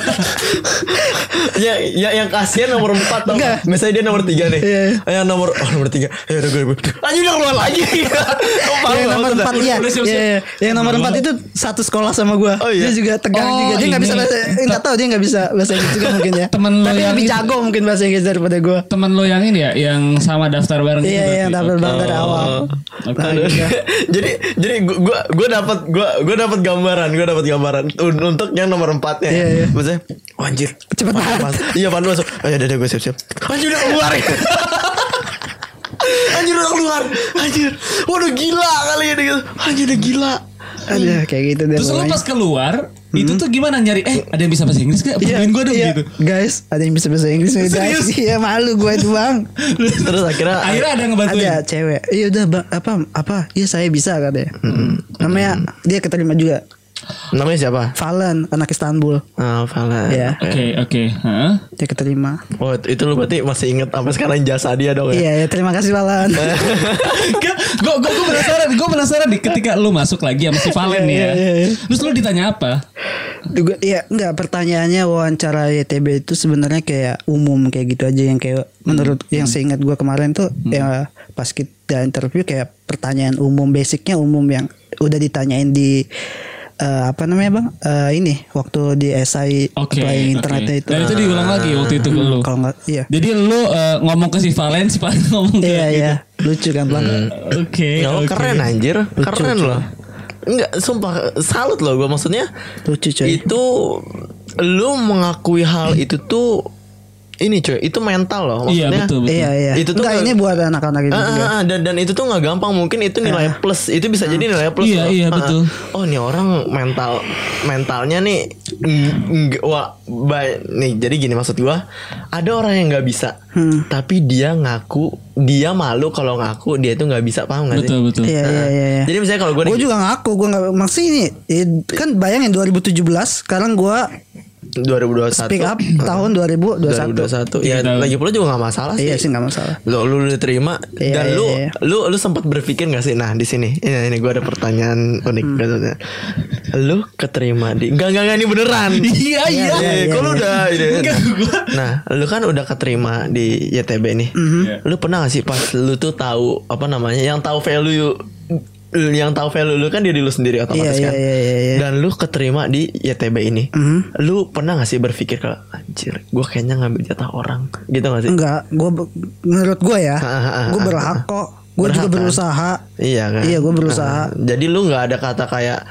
ya, ya yang kasihan nomor 4 tau
Enggak.
gak? Misalnya dia nomor 3 nih.
Iya.
Yang nomor oh nomor 3. Ya udah gue. Anjing udah keluar lagi. Kok malu
Yang nomor
banget,
empat
Ustaz?
ya.
udah siap-siap.
Iya, iya. Yang nomor empat itu satu sekolah sama gue.
Oh, iya.
Dia juga tegang
Oh,
juga. Dia nggak bisa
ini.
bahasa. Nggak tahu dia nggak bisa bahasa Inggris juga mungkin ya.
Temen lo
Tapi
yang
lebih
itu.
jago mungkin bahasa Inggris daripada gue.
Temen lo yang ini ya, yang sama daftar bareng gitu
Iya iya.
berarti.
Double bang dari awal.
Oke.
Nah,
Aduh.
gitu.
Oh. jadi jadi gua gua gua dapat gua gua dapat gambaran, gua dapat gambaran Un- untuk yang nomor 4-nya.
Iya, iya.
Maksudnya, oh, anjir.
Cepet
Pandu
banget.
masuk. Iya, Pandu masuk. Oh, ya udah gue siap-siap. Anjir udah keluar. anjir udah keluar. Anjir. Waduh gila kali ya gitu. Anjir udah gila.
Aduh kayak gitu deh.
Terus lu
pokoknya.
pas keluar, itu tuh gimana nyari? Eh, ada yang bisa bahasa Inggris gak? Bantuin gue dong
Hmm. iya.
gitu.
Guys, ada yang bisa bahasa Inggris nih, guys.
Serius?
Iya, malu gue itu, Bang.
Terus akhirnya
Akhirnya ada yang ngebantuin.
Ah, ada cewek. Iya udah, Bang. Apa apa? Iya, saya bisa katanya. Hmm. Namanya dia keterima juga.
namanya siapa?
Valen, anak Istanbul.
Ah, Valen.
Iya.
Oke, oke. Hah?
Dia keterima.
Oh, itu lu berarti masih inget sampai sekarang jasa dia dong ya.
Iya, ya terima kasih Valen.
gue gue gue penasaran gue penasaran nih ketika lu masuk lagi sama si Valen nih ya
Iya, iya, iya.
terus lu ditanya apa
Juga iya, enggak pertanyaannya wawancara YTB itu sebenarnya kayak umum kayak gitu aja yang kayak menurut
Hmm.
yang seingat gua kemarin tuh ya pas kita interview kayak pertanyaan umum basicnya umum yang udah ditanyain di eh, apa namanya Bang? Eh, ini waktu di SI
oke oke.
applying internetnya itu. Ah,
dan itu diulang lagi waktu itu ke lu
Kalau nggak iya.
jadi lu eh, ngomong ke si Valen si Valen ngomong ke
Iya
gitu. Hmm.
iya. lucu kan pelan
Oke.
Ya lo
Iya, oke.
keren anjir, keren loh. Enggak, sumpah salut loh gue maksudnya.
lucu coy
Itu lu mengakui hal itu tuh ini cuy, itu mental loh
Iya
maksudnya.
betul betul.
iya iya
Itu tuh
Enggak,
nggak-
ini buat anak-anak ini
Ah,
juga
ah, ah, dan dan itu tuh nggak gampang mungkin itu nilai plus itu bisa jadi nilai plus
Ah. Iya,
loh.
iya,
Ah, ah.
betul.
oh ini orang mental mentalnya nih ng- ng- wah ba- nih jadi gini maksud gua ada orang yang nggak bisa
Hmm.
tapi dia ngaku dia malu kalau ngaku dia tuh nggak bisa paham nggak sih
Betul betul.
iya iya iya iya
jadi misalnya kalau gitu. gue
gue juga ngaku gue nggak maksudnya ini eh, kan bayangin 2017 sekarang gue
2021
pick up tahun 2021
2021 ya
Tiga tahun.
lagi pula juga nggak masalah sih
iya sih nggak masalah
lo lu diterima
Iya,
dan
iya,
lu
iya.
lu lu sempat berpikir gak sih nah di sini ini, ini gue ada pertanyaan unik
Hmm.
katanya lu keterima di enggak enggak enggak ini beneran
Iya iya.
Iya,
iya,
kok lu
iya.
udah ini.
Enggak, gua-
nah lu kan udah keterima di YTB nih
Mhm.
Iya.
lu pernah gak sih pas lu tuh tahu apa namanya yang tahu value yang tahu value lu kan diri lu sendiri otomatis
Iya,
kan
iya, iya, iya, iya.
dan lu keterima di YTB ini
Mhm.
lu pernah gak sih berpikir kalau anjir gue kayaknya ngambil jatah orang gitu gak sih
enggak gue menurut gue ya
Ah, ah, ah,
gue
ah,
berhak
ah.
kok gue
Berhak, kan?
juga berusaha
Iya kan?
Iya, gua berusaha.
Nah, jadi lu nggak ada kata kayak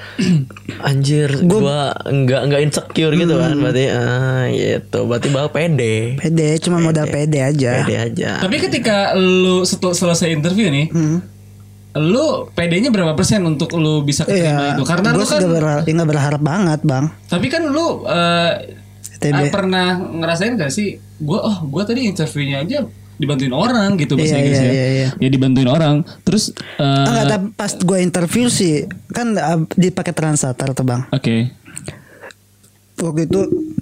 anjir
Gua- Mm-hmm.
gua nggak nggak insecure gitu kan berarti ah gitu berarti bahwa pede.
pede cuma modal pede aja
Pede aja.
Tapi ketika lu setel- selesai interview nih,
Mhm.
lu PD-nya berapa persen untuk lu bisa keterima
Iya,
itu? Karena lu
gue
kan,
sudah berharap, ya nggak berharap banget bang.
tapi kan lu eh,
TB.
ah, pernah ngerasain gak sih? Gue oh gue tadi interviewnya aja dibantuin orang gitu bahasa
Iya,
Inggrisnya.
iya, iya,
Ya dibantuin orang. Terus eh,
Enggak, Ah, tapi pas gue interview sih kan ah, dipakai translator tuh bang.
oke,
Waktu itu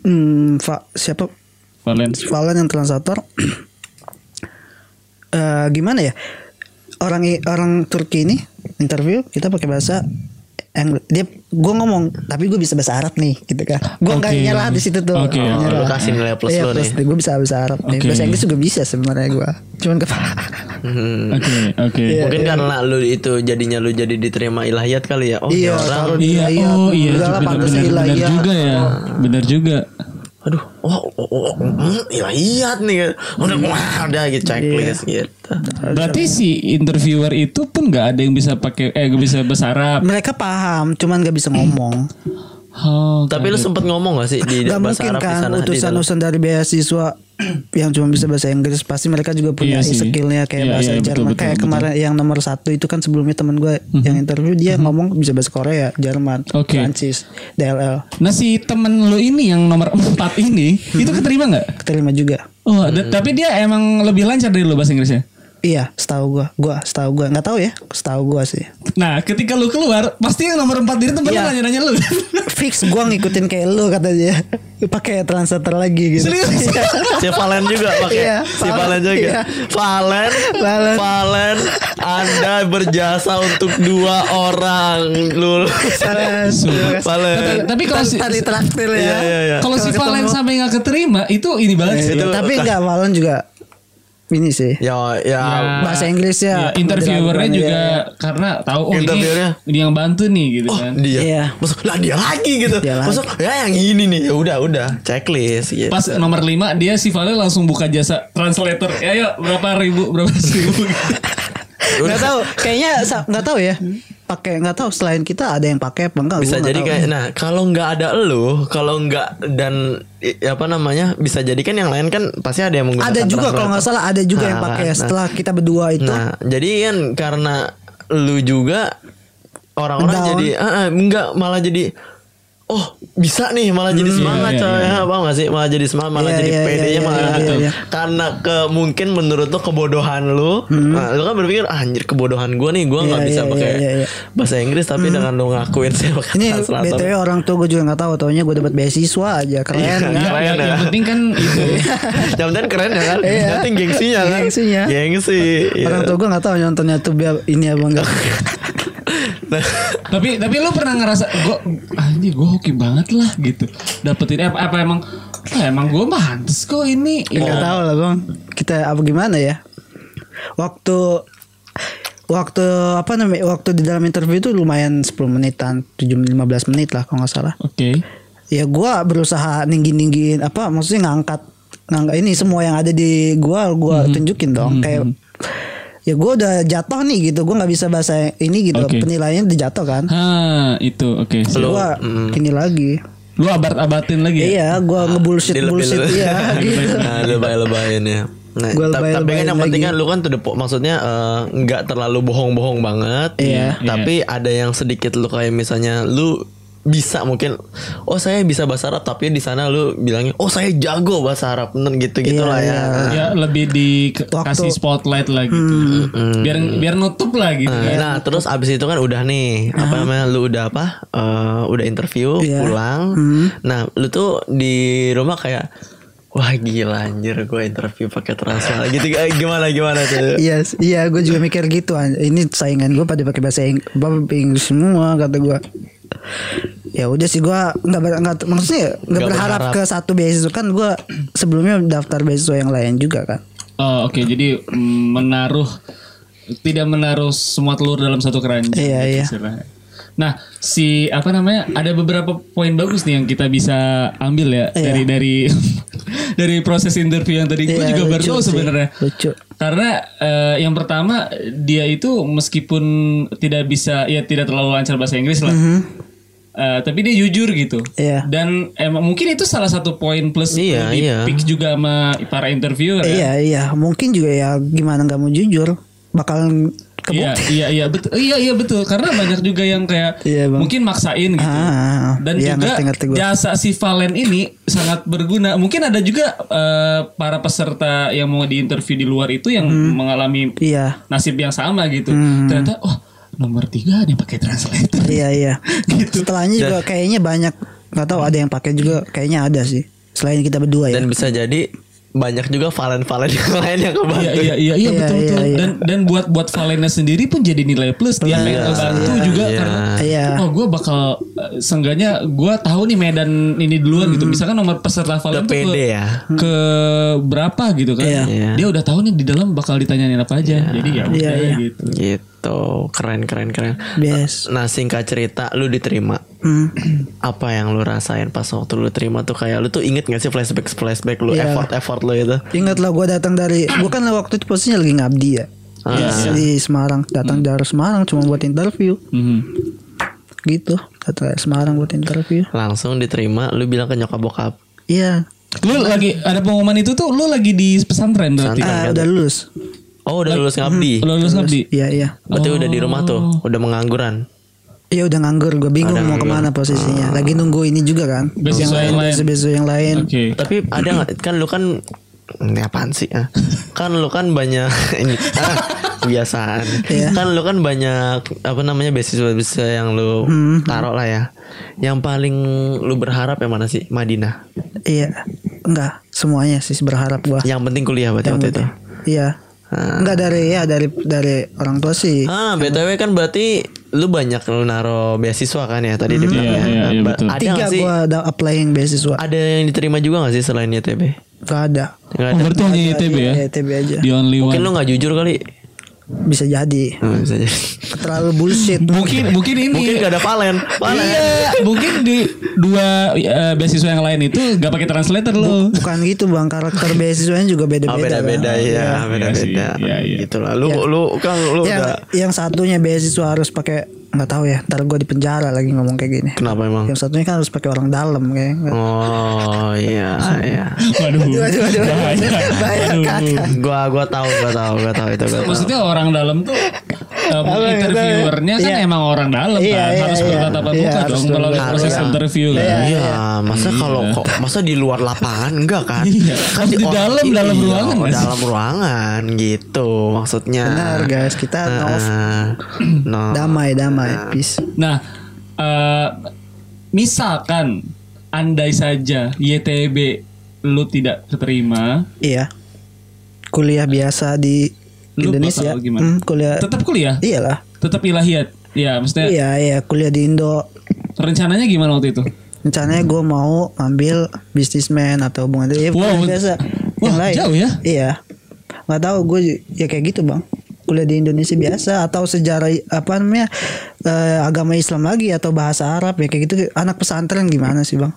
hmm, Fa- siapa
Valen.
Valen yang translator. Eh, gimana ya orang I- orang Turki ini interview kita pakai bahasa Engli- dia gue ngomong tapi gue bisa bahasa Arab nih gitu kan gue nggak
Oke.
nyerah di situ tuh
Oke.
Nggak
Oh, lu
nyerah.
kasih nilai plus
Iya,
lu
plus
nih.
gue bisa bahasa Arab nih.
Oke.
bahasa Inggris juga bisa sebenarnya gue cuman kepala
Hmm.
Oke oke.
Iya.
Mungkin karena lu itu jadinya lu jadi diterima ilahiyat kali ya. Oh,
Iya,
ini orang.
taruh di
Iya,
layar.
oh iya,
Udah lah,
bener,
pantas
bener,
ilah,
bener
iya.
juga ya, bener juga.
Aduh, wah, oh, oh, oh, hmm, ilahiyat nih. Udah,
Iya.
wah, udah gitu checklist gitu.
Berarti si interviewer itu pun nggak ada yang bisa pakai, eh nggak bisa bahasa Arab.
Mereka paham, cuman gak bisa ngomong.
Oh,
Tapi lu sempet ngomong gak sih di
gak
bahasa
mungkin
Arab di
kan
sana? di dalam?
utusan-utusan dari beasiswa yang cuma bisa bahasa Inggris pasti mereka juga punya
Iya sih.
skillnya kayak
Iya,
bahasa
iya, betul,
Jerman.
betul,
kayak
betul.
kemarin yang nomor satu itu kan sebelumnya temen gue yang interview dia ngomong bisa bahasa Korea, Jerman,
Mhm. Oke.
Prancis, DLL,
Nah si temen lu ini yang nomor 4 ini Itu keterima nggak?
keterima juga.
Oh
Eh.
da- tapi dia emang lebih lancar dari lu bahasa Inggrisnya
Iya, setahu gue, gue setahu gue nggak tahu ya, setahu gue sih.
Nah ketika lu keluar Pasti yang nomor 4 ini temen lu
Iya.
nanya-nanya lu
Fix gue ngikutin kayak lu kata dia, pakai translator lagi gitu.
Serius?
si Valen juga pakai
Iya,
si
Valen,
Valen juga
iya.
Valen, Valen
Valen.
Anda berjasa untuk dua orang lulus
Salah.
Sumpah.
Valen
Tapi kalau si,
Tadi traktir ya.
Iya, iya, iya.
kalau si
ketemu.
Valen sampai nggak keterima Itu ini banget sih
Iya. Itu-
Eh, tapi enggak Valen juga ini sih.
ya ya
Bahasa Inggris ya.
Iya, Interviewernya
Iya,
juga
iya.
Karena tahu Oh ini,
Interviewernya.
ini yang bantu nih gitu
Oh
kan
dia
Iya.
Masuk lah dia lagi gitu
Dia lagi.
Masuk ya yang ini nih Ya udah udah Checklist gitu
Pas nomor 5 Dia si Valen langsung buka jasa Translator "Eh, Ayo berapa ribu Berapa ribu
Enggak tahu, kayaknya sa- enggak tahu ya. Pakai enggak tahu selain kita ada yang pakai apa enggak
bisa
gua enggak
jadi
tahu.
kayak nah kalau nggak ada elu kalau nggak dan i- apa namanya bisa jadi kan yang lain kan pasti ada yang menggunakan
ada juga
translator.
kalau nggak salah ada juga yang
Nah,
pakai
nah.
setelah kita berdua itu.
Nah, jadi kan karena lu juga orang-orang
Down.
jadi ah, ah, enggak malah jadi oh bisa nih malah jadi semangat
iya,
coy
iya,
Ya, paham gak sih malah jadi semangat malah
Iya,
jadi
iya,
pede
iya,
malah
iya,
gitu.
iya, iya.
karena ke mungkin menurut lu kebodohan lu nah, lu kan berpikir ah, anjir kebodohan gua nih gua nggak
Hmm. Iya,
bisa
iya,
pakai
iya, iya.
bahasa Inggris tapi dengan lu ngakuin saya pakai
Ini
translator
BTW orang tua gue juga nggak tahu, taunya gue dapat beasiswa aja
Iya,
keren.
Nggak,
keren ya.
yang, yang penting kan itu
Jangan-jangan keren ya kan
Iya.
Nanti gengsinya kan
Gengsinya.
Gengsi iya.
Orang tua gue nggak tahu nontonnya tuh biar ini apa enggak.
Nah,
tapi tapi lu pernah ngerasa gua anjir gua hoki banget lah gitu dapetin apa, apa emang ah, emang gua mantes kok ini
Iya.
Enggak
Ya.
tahu lah bang. Kita apa gimana ya? Waktu waktu apa namanya? Waktu di dalam interview itu lumayan 10 menitan, 7 15 menit lah kalau nggak salah.
oke
Ya gua berusaha ninggin-ninggin apa maksudnya ngangkat ngangkat ini semua yang ada di gua gua tunjukin dong kayak ya gue udah jatuh nih gitu gue nggak bisa bahasa ini gitu
Oke.
penilaiannya udah jatuh kan
Ha, itu oke.
Lu-
gue
mm.
ini lagi
Lu abat-abatin lagi. ya?
iya gue ngebullshit bullshit iya gitu
Nah, lebay-lebayin ya. Nah,
Gua
ta- tapi kan
lebay-lebayin
yang penting
lagi.
kan lu kan tuh maksudnya eh, nggak terlalu bohong-bohong banget.
Iya.
Tapi ada yang sedikit lu kayak misalnya lu bisa mungkin oh saya bisa bahasa Arab tapi di sana lu bilangnya oh saya jago bahasa Arab bener gitu gitulah
Iya,
ya.
Ya lebih dikasih
Waktu- Hmm.
spotlight lah gitu. Biar biar nutup lah gitu
Nah,
Iya.
kan.
nah, terus abis itu kan udah nih apa namanya lu udah apa eh, udah interview
Iya.
pulang nah lu tuh di rumah kayak wah gila anjir gue interview pakai transfer gitu Eh, gimana gimana tuh
Iya, s- iya, gue juga mikir gitu. an- Ini saingan gue pada pakai bahasa Ing- bahasa Inggris semua kata gue. Ya udah sih gue nggak ber- nggak maksudnya nggak
Nggak
berharap,
berharap.
ke satu beasiswa kan gue sebelumnya daftar beasiswa yang lain juga kan.
Oh, oke. Jadi mm, menaruh tidak menaruh semua telur dalam satu keranjang.
Iya,
gitu
iya.
istilahnya. Nah, si apa namanya? Ada beberapa poin bagus nih yang kita bisa ambil
Iya.
ya dari dari dari proses interview yang tadi gue
Iya,
juga baru
lucu
tahu
sih,
sebenarnya.
lucu.
Karena eh, yang pertama dia itu meskipun tidak bisa ya tidak terlalu lancar bahasa Inggris lah. Eh, tapi dia jujur gitu.
Mm-hmm. Iya.
Dan emang mungkin itu salah satu poin plus
Iya,
di
iya.
pick juga sama para interviewer ya.
Iya iya, mungkin juga ya gimana nggak mau jujur bakal
Iya,
kebukti.
iya, iya betul. Iya, iya betul. Karena banyak juga yang kayak
Iya, Bang.
mungkin maksain gitu.
Ah,
Dan
iya,
juga
ngerti-ngerti gua.
jasa si Valen ini sangat berguna. Mungkin ada juga eh, para peserta yang mau diinterview di luar itu yang mengalami
Iya.
nasib yang sama gitu. Ternyata oh nomor tiga ada yang pakai translator.
Hmm. Iya iya. Setelahnya juga kayaknya banyak nggak tahu ada yang pakai juga kayaknya ada sih. Selain kita berdua ya.
dan bisa jadi banyak juga valen-valen yang lain yang kebantu
Iya iya iya iya
Iya,
betul
iya,
betul.
iya.
Dan dan buat buat Valena sendiri pun jadi nilai plus dia pengen bantu juga
Iya.
karena
Iya.
oh gue bakal eh, seenggaknya gue tahu nih medan ini duluan
Mm-hmm.
gitu. Misalkan nomor peserta
Udah
Valen tuh ke,
pede ya.
ke berapa gitu kan.
Iya.
Iya.
Dia udah tahu nih di dalam bakal ditanyain apa aja. Jadi ya udah
Iya, iya.
gitu.
gitu keren keren keren
Bias.
nah singkat cerita lu diterima
Hmm.
apa yang lu rasain pas waktu lu terima tuh kayak lu tuh inget gak sih flashback flashback lu
Iya.
effort effort lu itu
Ingat lah gue datang dari gue kan waktu itu posisinya lagi ngabdi ya
Ah,
Iya,
Di-
iya.
di Semarang datang dari Semarang cuma buat interview
Mhm.
gitu datang dari Semarang buat interview
langsung diterima lu bilang ke nyokap bokap
iya
Lu lagi ada pengumuman itu tuh lu lagi di pesantren berarti.
Pesantren.
ah, udah lulus
oh udah lulus ngabdi
Lu Hmm. lulus ngabdi.
iya iya
Berarti udah di rumah tuh, udah mengangguran.
Iya udah nganggur gue bingung mau
Ah.
kemana posisinya lagi nunggu ini juga kan
Beasiswa yang lain.
beasiswa yang lain
Oke.
Tapi ada nggak? Kan lu kan ini apaan sih? ah? Kan lu kan banyak ini ah, kebiasaan. Kan lu kan banyak apa namanya beasiswa-beasiswa yang lu taruh lah ya. Yang paling lu berharap yang mana sih? Madinah.
iya enggak semuanya sih berharap gue
Yang penting kuliah berarti Ya, waktu itu.
iya enggak dari ya dari dari orang tua sih
Ah, BTW kan berarti lu banyak lu naro beasiswa kan ya tadi di
Iya,
belakang ya.
iya, iya,
Ba-
betul.
Ada
tiga
nggak sih?
gue ada applying beasiswa
Ada yang diterima juga gak sih selain YTB?
enggak ada
Nggak
Oh,
ada.
berarti hanya ITB ya.
Iya, ITB aja
The only
Mungkin
one.
lu gak jujur kali.
bisa jadi
Hmm, bisa jadi.
terlalu bullshit
Mungkin mungkin ini
Mungkin gak ada Valen. Valen.
Iya, mungkin di dua eh, beasiswa yang lain itu gak pakai translator lo.
bukan gitu bang karakter beasiswanya juga beda
Oh,
beda
beda-beda ya, beda-beda.
iya. sih. Iya, iya.
Gitu lah. Lu lu Kang lu
Ya. yang
udah
yang satunya beasiswa harus pakai nggak tahu ya ntar gue di penjara lagi ngomong kayak gini
kenapa emang?
Iya.
yang satunya kan harus pakai orang dalam kayak
Oh, iya, iya. Hmm,
Waduh. Bahaya.
Bahaya,
Aduh.
Gua gua tahu, gua tahu, gua tahu itu gua tahu.
Maksudnya orang dalam tuh eh, interviewernya kan emang orang dalam
gitu? Iya,
kan
iya,
harus
iya.
bertatapan
Iya,
muka
harus
dong kalau
bertatap
proses
muka.
interview kan.
Iya, masa kalau kok masa di luar lapangan enggak kan?
Iya,
Kan
harus di
orang-
dalam- dalam
iya,
ruangan, Mas.
Dalam ruangan gitu maksudnya.
benar guys kita no-
Heeh. No.
damai
Iya.
damai peace
Nah, eh, misalkan andai saja YTB lu tidak keterima,
iya kuliah biasa di
Lu
Indonesia
bakal gimana?
Hmm, kuliah
tetap kuliah,
iyalah
tetap ilahiyat. Ya, maksudnya
iya iya kuliah di Indo
rencananya gimana waktu itu?
rencananya gue mau ngambil bisnismen atau hubungan ya,
Wow,
kuliah biasa
wah,
Yang lain.
jauh ya?
iya nggak tahu gue ya kayak gitu bang kuliah di Indonesia biasa atau sejarah apa namanya eh, agama Islam lagi atau bahasa Arab ya kayak gitu anak pesantren gimana sih bang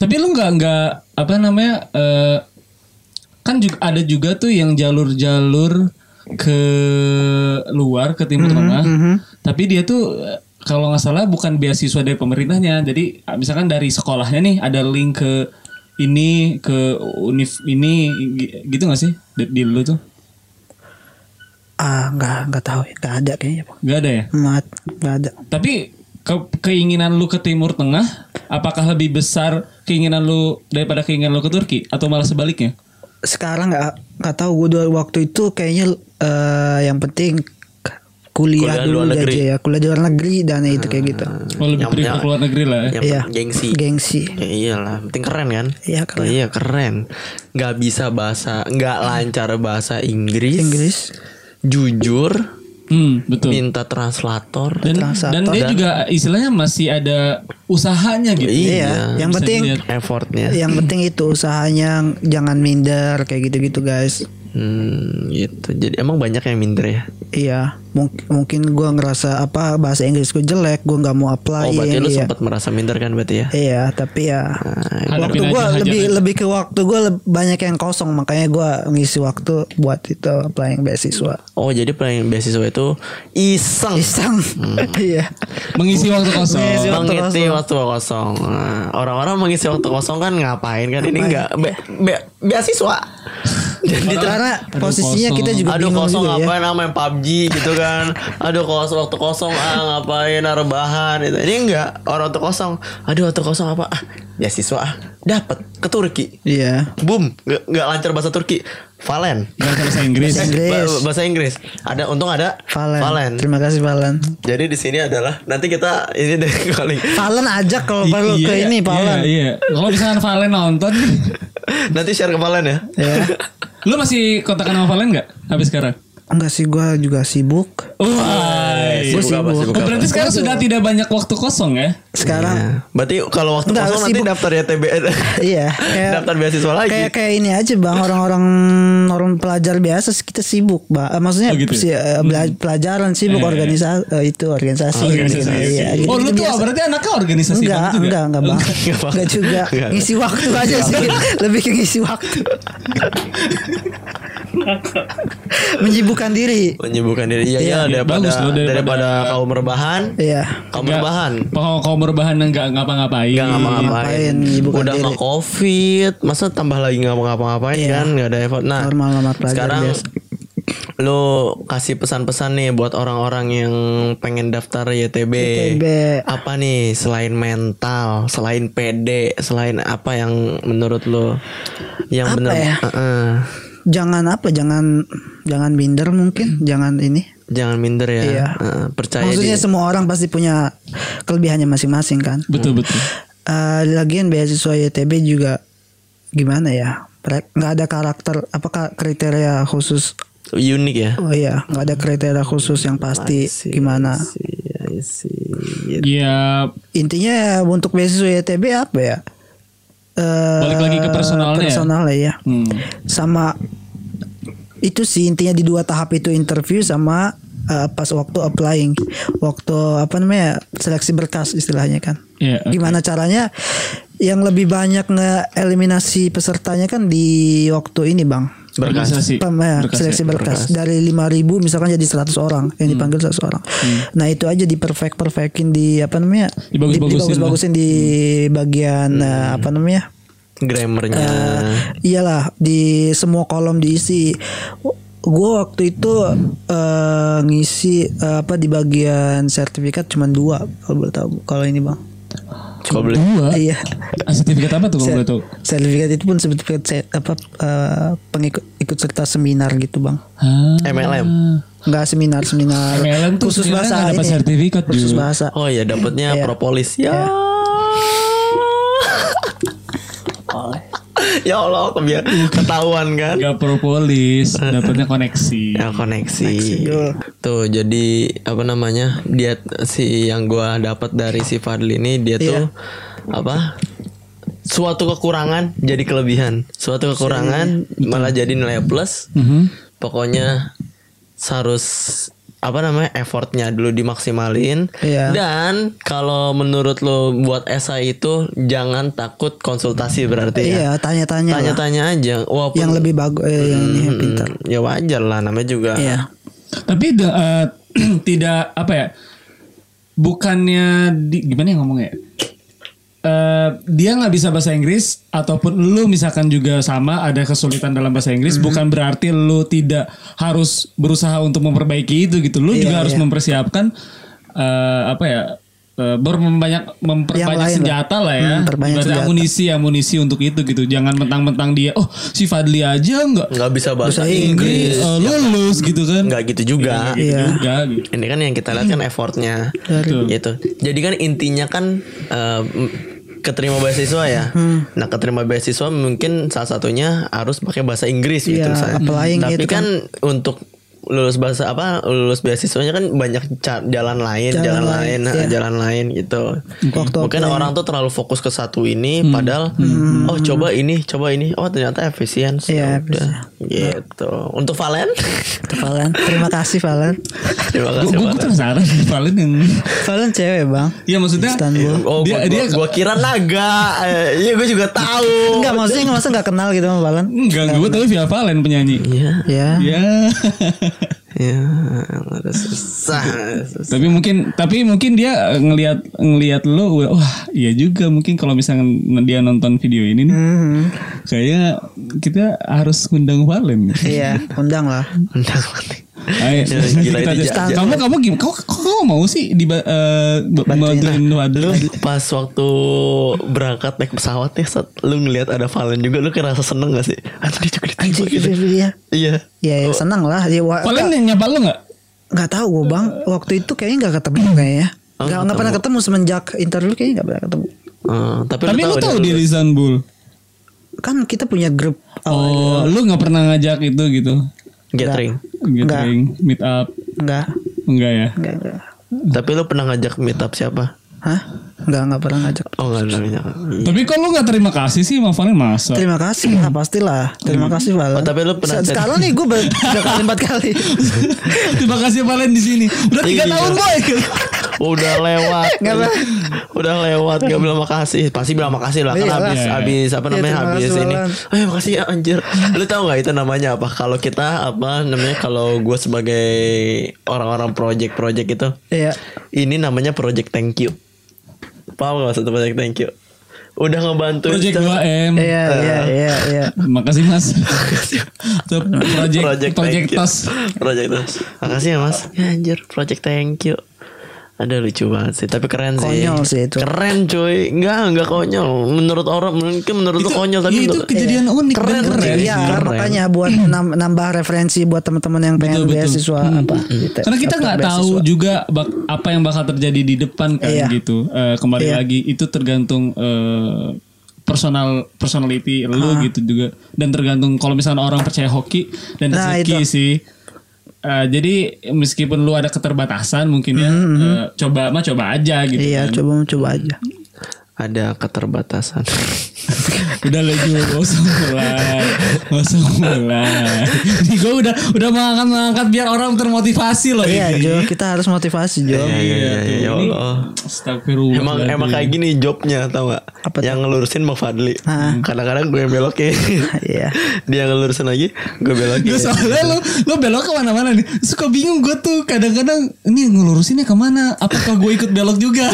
Tapi lu nggak nggak apa namanya eh, kan juga ada juga tuh yang jalur-jalur ke luar ke timur tengah tapi dia tuh eh, kalau nggak salah bukan beasiswa dari pemerintahnya jadi ah, misalkan dari sekolahnya nih ada link ke ini ke univ ini gi- gitu nggak sih di, di lu tuh
ah nggak nggak tahu nggak ada kayaknya pak
nggak ada ya
mat nggak ada
tapi ke- keinginan lu ke timur tengah apakah lebih besar keinginan lu daripada keinginan lu ke Turki atau malah sebaliknya
sekarang nggak nggak tahu gue dua waktu itu kayaknya eh, yang penting kuliah,
Kuliah
dulu
luar negeri.
aja ya kuliah di luar negeri dan itu kayak gitu
oh lebih
Yang-
prefer
yang-
ke luar negeri lah ya.
Yang
Iya.
gengsi.
gengsi
Ya iyalah, penting keren kan?
Iya, keren.
Iya keren. Gak bisa bahasa, gak lancar bahasa Inggris.
Inggris
Jujur,
hmm betul
minta translator.
dan
Transator.
dan dia juga istilahnya masih ada usahanya gitu
Iya,
iya yang
Bisa
penting
dilihat.
Effortnya.
yang penting itu usahanya jangan minder kayak gitu-gitu guys
Hmm, gitu. Jadi emang banyak yang minder ya.
iya mung- mungkin gua ngerasa apa bahasa Inggris gue jelek gue nggak mau apply
Oh, berarti lu
iya.
sempat merasa minder kan berarti ya?
iya tapi ya waktu
Hadapin aja,
gue
hajar
lebih
aja.
lebih ke waktu gue banyak yang kosong makanya gua ngisi waktu buat itu applying beasiswa
Oh, jadi pengen beasiswa itu
Hmm.
iseng.
iseng iya
mengisi waktu kosong
Mengisi waktu
mengisi waktu kosong. Nah, Orang-orang mengisi waktu kosong kan ngapain kan ini enggak be, be- beasiswa. Jadi ter-
karena
Aduh,
posisinya
kosong.
kita juga
Aduh
bingung
kosong
juga ya
ngapain ah, main PUBG gitu kan Aduh kosong waktu kosong ah ngapain ah, rebahan gitu. Ini enggak orang waktu kosong Aduh waktu kosong apa ah, Beasiswa ah Dapet ke Turki
iya
Boom Nggak nggak lancar bahasa Turki Valen
Nggak bisa bahasa Inggris
Bahasa Inggris.
Ba- Bahasa Inggris Ada untung ada
Valen. terima kasih Valen
Jadi di sini adalah Nanti kita ini deh kali
Valen ajak kalau perlu
Iya,
ke
iya,
ini Valen
iya kalau misalkan Valen nonton nih,
Nanti share ke Valen ya
ya
lu masih kontakkan sama Valen nggak habis sekarang Oh,
enggak sih gua juga sibuk
Sibuk
wah
Oh, iya, sibuk. Ah, iya,
apa, sibuk apa?
Oh, berarti sekarang sudah tidak banyak waktu kosong ya
sekarang
Nah, Berarti kalau waktu
Nggak,
kosong nanti
sibuk.
daftar ya TBN
iya kayak-
Daftar beasiswa lagi
kayak kayak ini aja bang orang-orang orang pelajar biasa sih kita sibuk bang Eh, maksudnya
Oh, gitu.
si- eh, bela- pelajaran
Iya,
sibuk organisasi itu organisasi,
organisasi
gitu, iya,
oh lu tuh
gitu-gitu biasa.
berarti anaknya organisasi
enggak,
banget juga
enggak, enggak, Bang.
Enggak, Bang.
Enggak juga.
Enggak.
Ngisi waktu aja sih. Lebih ke ngisi waktu. Menyibukkan diri.
Menyibukkan diri Iya
Iya,
iya
iya,
daripada,
bagus loh,
daripada
daripada-
kaum rebahan
Iya.
Kaum
Nggak-
rebahan
kalau kalau berbahan nggak ngapa-ngapain
Gak ngapa-ngapain
ngapain, menyibukkan
Udah
diri.
mah covid Masa tambah lagi nggak mau ngapa-ngapain
Iya.
kan Gak ada effort Nah
Normal, normal pelajar
sekarang
biasa.
Lu kasih pesan-pesan nih Buat orang-orang yang pengen daftar YTB
YTB.
Apa nih selain mental Selain PD Selain apa yang menurut lu Yang
Apa
bener
ya?
Heeh.
Jangan apa? Jangan jangan minder mungkin. Jangan ini.
Jangan minder ya
Iya.
Heeh, Percaya
Maksudnya
diri.
semua orang pasti punya kelebihannya masing-masing kan.
betul betul
Eh, lagian beasiswa YTB juga gimana ya? Merek- nggak ada karakter apakah kriteria khusus
Unik ya
oh iya nggak ada kriteria khusus yang pasti gimana
I see, I
Iya
see. Gitu.
ya
intinya untuk beasiswa YTB apa ya? Eh,
Balik lagi ke personalnya ya?
Personalnya ya.
hmm.
Sama itu sih intinya di dua tahap itu interview sama eh, pas waktu applying, waktu apa namanya seleksi berkas istilahnya kan.
Iya, oke.
Gimana caranya? Yang lebih banyak ngeeliminasi pesertanya kan di waktu ini bang.
Berkas.
Organisasi.
Pem- eh,
Berkas, Hmm.
seleksi
ya.
berkas, dari 5000 misalkan jadi 100 orang yang dipanggil 100 orang.
Hmm.
Nah, itu aja di perfect perfectin di apa namanya?
Dibagus-bagusin Hmm.
Di- dibagus-bagusin di bagian eh, apa namanya?
Nah.
Grammarnya
Eh, iyalah di semua kolom diisi. Gue waktu itu eh, ngisi eh, apa di bagian sertifikat cuman dua kalau boleh tahu kalau ini bang.
Kau boleh
dua
Iya.
Ah, sertifikat apa tuh kalau boleh tahu
Sertifikat itu pun sertifikat se- apa eh, pengikut ikut serta seminar gitu bang.
Ah.
MLM
Hmm. Enggak seminar seminar
MLM tuh
khusus
sebenarnya
bahasa
nggak dapat
ini.
sertifikat,
khusus
Ju.
bahasa
Oh iya dapatnya
Iya.
propolis ya.
Iya.
ya Allah kebiar ketahuan kan.
Gak propolis, dapatnya koneksi.
Iya.
Ya koneksi.
Jul.
Tuh jadi apa namanya? Dia si yang gua dapat dari si Fadli ini
Iya.
dia tuh apa? Suatu kekurangan jadi kelebihan. Suatu
Iya,
kekurangan malah jadi nilai plus.
Mhm.
Pokoknya harus apa namanya effortnya dulu dimaksimalin
Iya.
dan kalau menurut lo buat esai itu jangan takut konsultasi berarti ya.
Iya, tanya-tanya. lah.
tanya-tanya aja walaupun
Yang lebih bagus eh, yang ini yang
Mm,
pintar.
ya wajar lah namanya juga
Iya.
Tapi de- eh, tidak apa ya? Bukannya di- gimana ya ngomongnya? Eh, dia nggak bisa bahasa Inggris ataupun lu misalkan juga sama ada kesulitan dalam bahasa Inggris
Mhm.
bukan berarti lu tidak harus berusaha untuk memperbaiki itu gitu lu
Iya,
juga harus
iya.
mempersiapkan eh, apa ya eh, berbanyak memperbanyak
lain lah.
senjata lah ya
Hmm, perbanyak
Ibaratnya
senjata.
amunisi amunisi untuk itu gitu jangan mentang-mentang dia oh si Fadli aja nggak
nggak bisa bahasa
Bahasa
Inggris
Inggris.
eh, lulus gitu kan
nggak gitu juga
Iya.
juga gitu.
ini kan yang kita lihat kan effortnya gitu jadi kan intinya kan eh, m- keterima beasiswa ya
Hmm.
nah keterima beasiswa mungkin salah satunya harus pakai bahasa Inggris gitu
Iya,
misalnya.
applying
tapi
itu
kan, untuk lulus bahasa apa lulus beasiswanya kan banyak ca- jalan lain jalan,
Jalan
lain,
lain,
nah,
iya. ya.
jalan lain gitu
Waktu
mungkin
applying.
orang tuh terlalu fokus ke satu ini
Hmm.
padahal oh coba ini coba ini oh ternyata efisien Ya
Iya,
udah. gitu untuk Valen
Tuh, Valen. Terima kasih Valen.
terima kasih
Gue
Valen.
penasaran Valen yang
Valen cewek, Bang.
Iya maksudnya
Istanbul.
Oh, gua,
Dia-
gua,
dia-
gua kira naga. Eh, Iya, gua juga tahu.
Enggak maksudnya masa enggak kenal gitu sama Valen.
Enggak gue tapi via Valen penyanyi
Iya,
Ya.
Ya
iya, ada susah. susah.
Tapi mungkin Tapi mungkin dia eh, ngelihat ngelihat lo Wah iya juga mungkin Kalau misalkan dia nonton video ini
Hmm.
nih
Mhm.
Kayaknya Kita harus ngundang Valen
Iya, undang lah.
Undang mati.
Ayo,
Iya, Gila,
nanti
gila,
kita
ini
aja.
ja-
kamu kamu gimana? Kok, kok kamu mau sih di uh, bantuin
Lu
Fadli?
pas waktu berangkat naik pesawat ya, Sat, lu ngelihat ada Valen juga, lu kerasa seneng gak sih? Anjir dia juga diterima
Anjing
gitu.
iya.
Iya.
Iya, ya, senang lah. Ya, wa-
Valen yang nyapa lo nggak?
nggak tahu gue bang waktu itu kayaknya nggak ketemu kayaknya
Oh,
nggak
ketemu.
nggak pernah ketemu semenjak interview kayaknya nggak pernah ketemu
Eh, tapi,
Tapi lo tahu
dia
di
lulus.
Istanbul.
kan kita punya grup awal
Oh, lu nggak pernah ngajak itu gitu?
gathering.
Gathering, meet up,
nggak
enggak ya?
nggak nggak
Tapi lu pernah ngajak meet up siapa?
hah nggak nggak pernah ngajak
Oh, enggak pernah.
Tapi kok lu nggak terima kasih sih sama Valen masa?
terima kasih lah pastilah terima kasih Valen
Oh, tapi lu pernah
Se-
chat-
sekarang nih gue berapa kali empat kali
terima kasih Valen di sini. Udah tiga
Iya.
tahun boy.
udah lewat
Nggak apa.
udah lewat gak bilang makasih pasti bilang makasih lah kan
Iya lah.
habis
Iya.
habis apa
Iya,
namanya
terima
habis
kasih,
ini
Walan.
eh makasih ya anjir lu tau gak itu namanya apa kalau kita apa namanya kalau gue sebagai orang-orang project-project itu
Iya.
ini namanya project thank you paham gak maksud project thank you udah ngebantu
Project 2M.
iya iya iya iya
Makasih Mas. Tuh, project project,
thank you.
tos.
Project tos. Makasih ya mas. Ya anjir, project thank you. Ada lucu banget sih, tapi keren sih.
Konyol sih itu.
Keren cuy. Enggak, enggak konyol. Menurut orang mungkin menurut lu konyol tapi
Iya, itu
menurut-
kejadian unik dan
Keren, iya.
keren.
Iya,
keren.
makanya buat nam- nambah referensi buat teman-teman yang
Betul,
pengen
betul.
beasiswa apa gitu.
Hmm. Karena kita
Daftar
nggak tahu
beasiswa.
juga bak- apa yang bakal terjadi di depan kan
Iya.
gitu. Eh, kembali
Iya.
lagi itu tergantung eh, personal personality lu gitu juga dan tergantung kalau misalnya orang percaya hoki dan
Nah,
rezeki
itu.
sih. Eh, jadi meskipun lu ada keterbatasan mungkin ya eh, coba mah coba aja gitu.
Mm-hmm, Iya,
kan.
coba coba aja.
Ada keterbatasan.
udah lagi gak usah mulai gak usah mulai ini gue udah udah mengangkat mengangkat biar orang termotivasi loh Gitu.
Iya,
ini.
Jo, kita harus motivasi,
Iya,
Jo.
iya, iya, iya, ya
Ini
Allah.
Astagfirullah.
Emang emang kayak gitu gini jobnya tau gak?
Apa tuh?
yang ngelurusin Bang Fadli.
Ah.
Kadang-kadang gue yang belokin.
Iya.
Dia ngelurusin lagi, gue belokin.
Lu soalnya lu lu belok kemana-mana nih. Suka bingung gue tuh kadang-kadang ini ngelurusinnya kemana? Apakah gue ikut belok juga?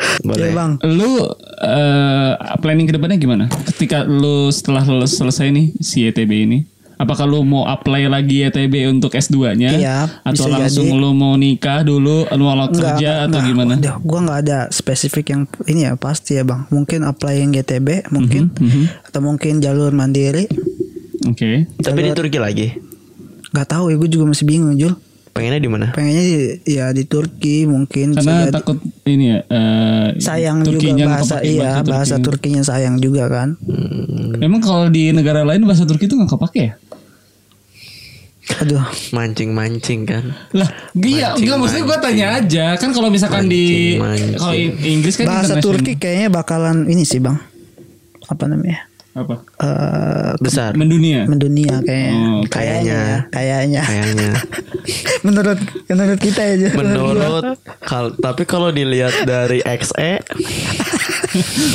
Iya,
Boleh.
Bang.
lu eh, planning kedepannya gimana? Ketika lu setelah lu selesai nih si ETB ini, apakah lu mau apply lagi ETB untuk S2-nya?
Iya,
atau
bisa
langsung
jadi.
lu mau nikah dulu, lu mau kerja atau gimana?
Udah, gua nggak ada spesifik yang ini ya pasti ya bang. Mungkin apply yang GTB mungkin
Mhm,
atau mungkin jalur mandiri.
Oke.
Tapi di Turki lagi.
Gak tahu ya, gue juga masih bingung Jul.
Pengennya di mana?
Pengennya di, ya di Turki mungkin. bisa
Karena
jadi.
takut ini ya. eh,
sayang
Turkinya
juga bahasa
kepake
iya bahasa
Turkinya.
Turkinya sayang juga kan.
Hmm,
Hmm. Emang kalau di negara lain bahasa Turki itu nggak kepake ya?
Aduh,
Mancing-mancing kan.
Lah, iya,
Mancing,
enggak maksudnya gue tanya aja. Kan kalau misalkan di
Mancing, mancing.
kalau in- Inggris kan
bahasa
international.
Turki kayaknya bakalan ini sih bang. Apa namanya?
apa
eh,
besar
mendunia
mendunia kayaknya.
Oh, oke.
kayaknya, kayaknya.
kayaknya.
menurut menurut kita ya. Jun.
Menurut kal tapi kalau dilihat dari E, XE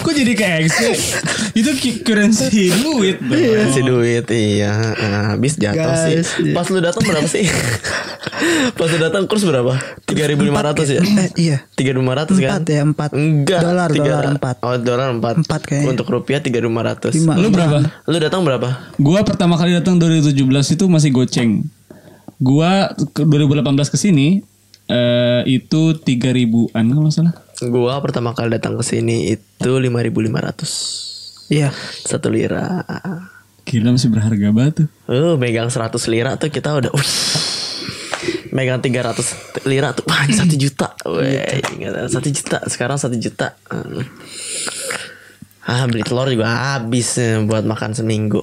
kok jadi kayak sih itu cu- currency duit dong.
si duit iya eh, habis jatuh sih.
Iya. Guys, iya.
Pas lu datang berapa sih? Pas lu datang kurs berapa? 3.500 ya?
Eh, iya.
3.500 kan?
Empat ya, empat.
Enggak.
Dolar,
tiga-
dolar empat.
Oh, dolar 4.
Empat kayaknya.
Untuk rupiah 3.500.
Lima.
lu berapa
Lu datang berapa?
Gua pertama kali datang 2017 itu masih goceng. Gua ke 2018 ke sini eh itu 3000-an kalau nggak salah.
Gua pertama kali datang ke sini itu 5.500.
Iya.
Satu lira.
Gila masih berharga banget tuh.
Uh, megang 100 lira tuh kita udah uh, megang 300 lira tuh wah 1 juta. Weh, ingat, 1 juta. Sekarang 1 juta. Hmm. Ah, beli telur juga habis eh, buat makan seminggu.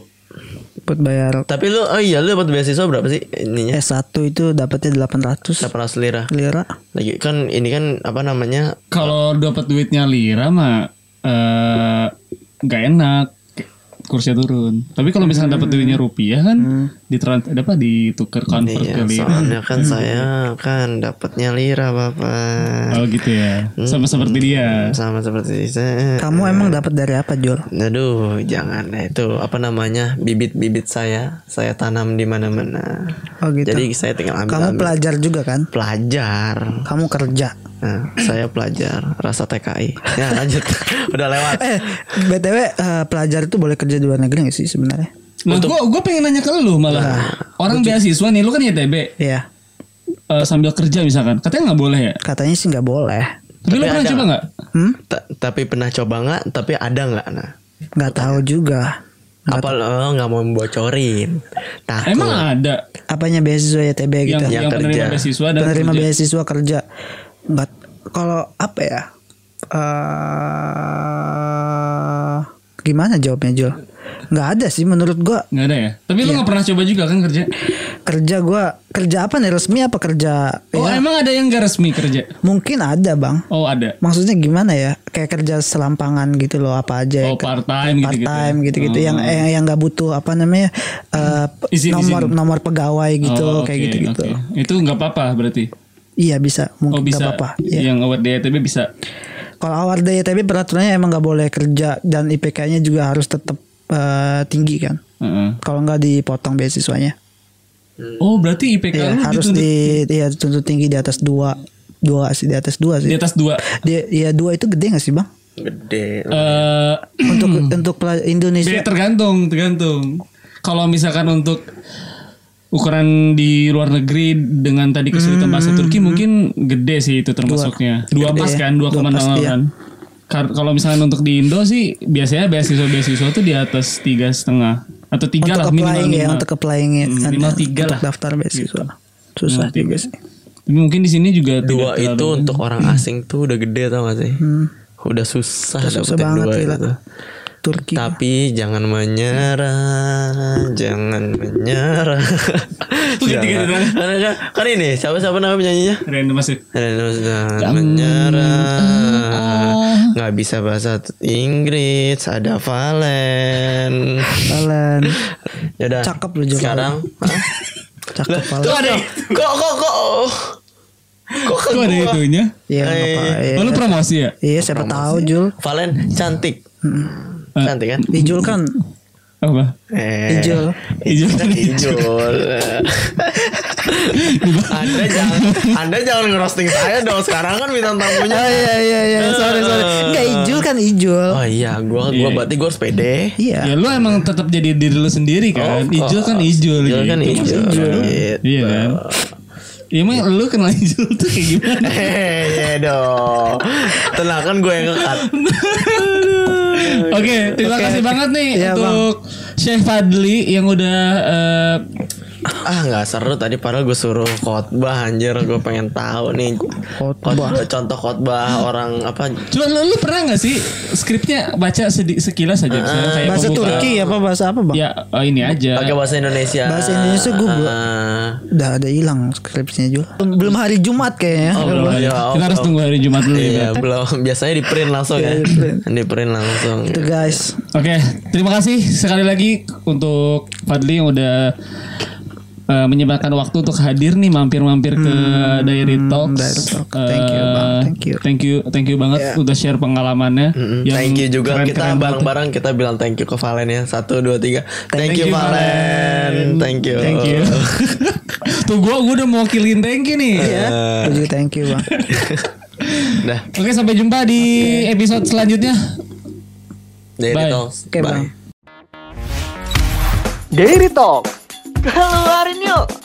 Buat bayar
Tapi lu oh iya lu dapat beasiswa berapa sih ininya?
S1 Ya, itu dapatnya 800
800 lira.
lira.
Lagi kan ini kan apa namanya?
Kalau dapat duitnya lira mah eh nggak enak kursnya turun. Tapi kalau misalnya
Hmm.
dapat duitnya rupiah kan di apa ditukar convert ke
Iya,
lira.
soalnya kan saya kan dapatnya lira, Bapak.
Oh gitu ya.
Hmm.
Sama seperti dia.
Sama seperti saya.
Kamu emang dapat dari apa, Jol?
Aduh, jangan Nah, itu apa namanya bibit-bibit saya saya tanam di mana-mana.
Oh, gitu.
Jadi saya tinggal ambil.
Kamu
ambil.
pelajar juga kan?
pelajar.
Kamu kerja.
Nah, saya pelajar rasa TKI. Ya lanjut, udah lewat.
Eh, BTW eh, pelajar itu boleh kerja di luar negeri gak sih sebenarnya?
Nah, gua gua pengen nanya ke lu malah.
Nah,
Orang beasiswa nih, lu kan ITB
Iya.
eh, sambil kerja misalkan. Katanya nggak boleh ya?
Katanya sih nggak boleh.
Tapi lu pernah
ada
coba nggak?
Hmm?
Ta- tapi pernah coba nggak? Tapi ada nggak? Nah,
Nggak tahu juga.
apa lo nggak mau membocorin? Takut.
Emang ada
Apanya beasiswa
yang,
YTB gitu.
gitu. Yang
yang, penerima
kerja.
beasiswa dan
Penerima
kerja.
beasiswa kerja. Nggak kalau apa ya? Eh gimana jawabnya, Jol? Nggak ada sih menurut gua.
Nggak ada ya? Tapi
Iya.
lu nggak pernah coba juga kan kerja?
Kerja gua kerja apa nih resmi apa kerja?
Iya.
Oh
ya,
emang ada yang nggak resmi kerja?
mungkin ada, Bang.
Oh ada.
maksudnya gimana ya kayak kerja selampangan gitu loh apa aja
Oh, part time
part
gitu-gitu. Hmm.
time gitu-gitu yang eh, yang nggak butuh apa namanya eh, p-
Izin,
nomor
izin.
nomor pegawai gitu
Oh,
kayak
oke,
gitu gitu
oke. Itu nggak apa-apa berarti.
iya bisa
Oh
mungkin nggak
bisa.
apa-apa Iya.
Yang award DTB bisa.
kalau awal DTB peraturannya emang nggak boleh kerja dan IPK-nya juga harus tetap eh, tinggi kan
Heeh.
kalau nggak dipotong beasiswanya
Oh berarti IPK
Iya,
lu
harus
dituntut
di iya tuntut tinggi di atas dua dua sih di atas dua
di
sih
atas dua.
dia ya dua itu gede nggak sih bang
Gede.
Eh
untuk untuk pela- Indonesia
be- Iya, tergantung, tergantung. Kalau misalkan untuk ukuran di luar negeri dengan tadi kesulitan bahasa Turki mungkin gede sih itu termasuknya. Dua,
Gede
pas
ya.
kan, dua
Hmm. Dua
koma
pas,
nol
iya.
kan. Kar- Kalau misalnya untuk di Indo sih biasanya beasiswa beasiswa tuh di atas tiga setengah atau tiga lah
untuk
minimal
applying ya
lima.
untuk applying ya
Hmm,
ada-
minimal tiga
untuk
lah. Gitu.
daftar beasiswa susah juga sih
Tapi mungkin di sini juga
dua itu
tidak terlalu-
untuk orang asing tuh udah gede tau gak sih? Udah susah dapetin
susah banget
dua
gila
itu.
Turki
Tapi jangan menyerah, jangan menyerah.
Tuh, ganti,
Jangan-
ganti, ganti.
Kan, kan, kan ini siapa siapa nama penyanyinya?
Random masuk.
Jangan, menyerah. Nggak bisa bahasa Inggris, ada Valen.
Valen
Yaudah.
Cakep lu, Joko.
Sekarang. Hah?
cakep Valen
Tuh ada. Kok kok kok. Kok ke
Itu ada
gua?
itunya.
iya
Eh,
apa iya.
Oh, lu promosi ya?
iya siapa tahu Jul
Valen cantik. Cantik kan?
Ijul kan
Apa?
Eh,
Ijul.
Ijul.
Ijul.
Ijul. anda jangan Anda jangan ngerosting saya dong. Sekarang kan bintang tamunya.
oh iya iya iya sorry sorry enggak Ijul kan Ijul
Oh iya, gua gua berarti gua harus pede.
iya
Ya lu emang tetap jadi diri lu sendiri kan.
Oh,
Ijul kan
oh.
Ijul.
Ijul kan
gitu.
Ijul, gitu.
Iya kan. Ya emang lu kenal Ijul tuh kayak gimana?
Hehehe Eh, iya dong. Tenang kan gue yang ngekat.
Oke, terima kasih banget nih
Iya,
untuk Chef Fadli yang udah eh,
Ah nggak seru tadi padahal gue suruh khotbah anjir gue pengen tahu nih
Khotbah.
contoh khotbah orang apa
Coba lu, lu pernah gak sih skripnya baca sedi- sekilas aja misalnya kayak
bahasa
pembukaan.
Turki apa bahasa apa bang
Ya eh, ini aja.
pakai bahasa Indonesia
Bahasa Indonesia gue belum-
Ah.
udah ada hilang skripsinya Jul Belum- belum hari Jumat kayaknya
Oh, belum
Kita
ya, oh,
harus
Iya, belum.
tunggu hari Jumat dulu ya.
Iya, belum. Biasanya di print langsung ya.
Iya, di print.
Di print langsung.
itu guys
Oke, terima kasih sekali lagi untuk Fadli yang udah eh, menyempatkan waktu untuk hadir nih mampir-mampir ke Diary Talks.
Hmm, Diary Talk. Thank you, Bang.
Eh,
Thank you.
Thank you, thank you banget udah share pengalamannya.
Mm,
Hmm. yang
thank you juga
keren-keren
kita
banget.
bareng-bareng kita bilang thank you ke Valen ya satu dua tiga thank,
Thank
you
you,
Valen
Valen.
thank you
Thank you. Tuh gue gua udah mewakilin thank you nih.
Aku juga thank you bang
Eh, dah
Oke, sampai jumpa di episode selanjutnya.
dari
Bye.
Talks.
Oke, Bang.
Dairy Talk. Keluarin yuk.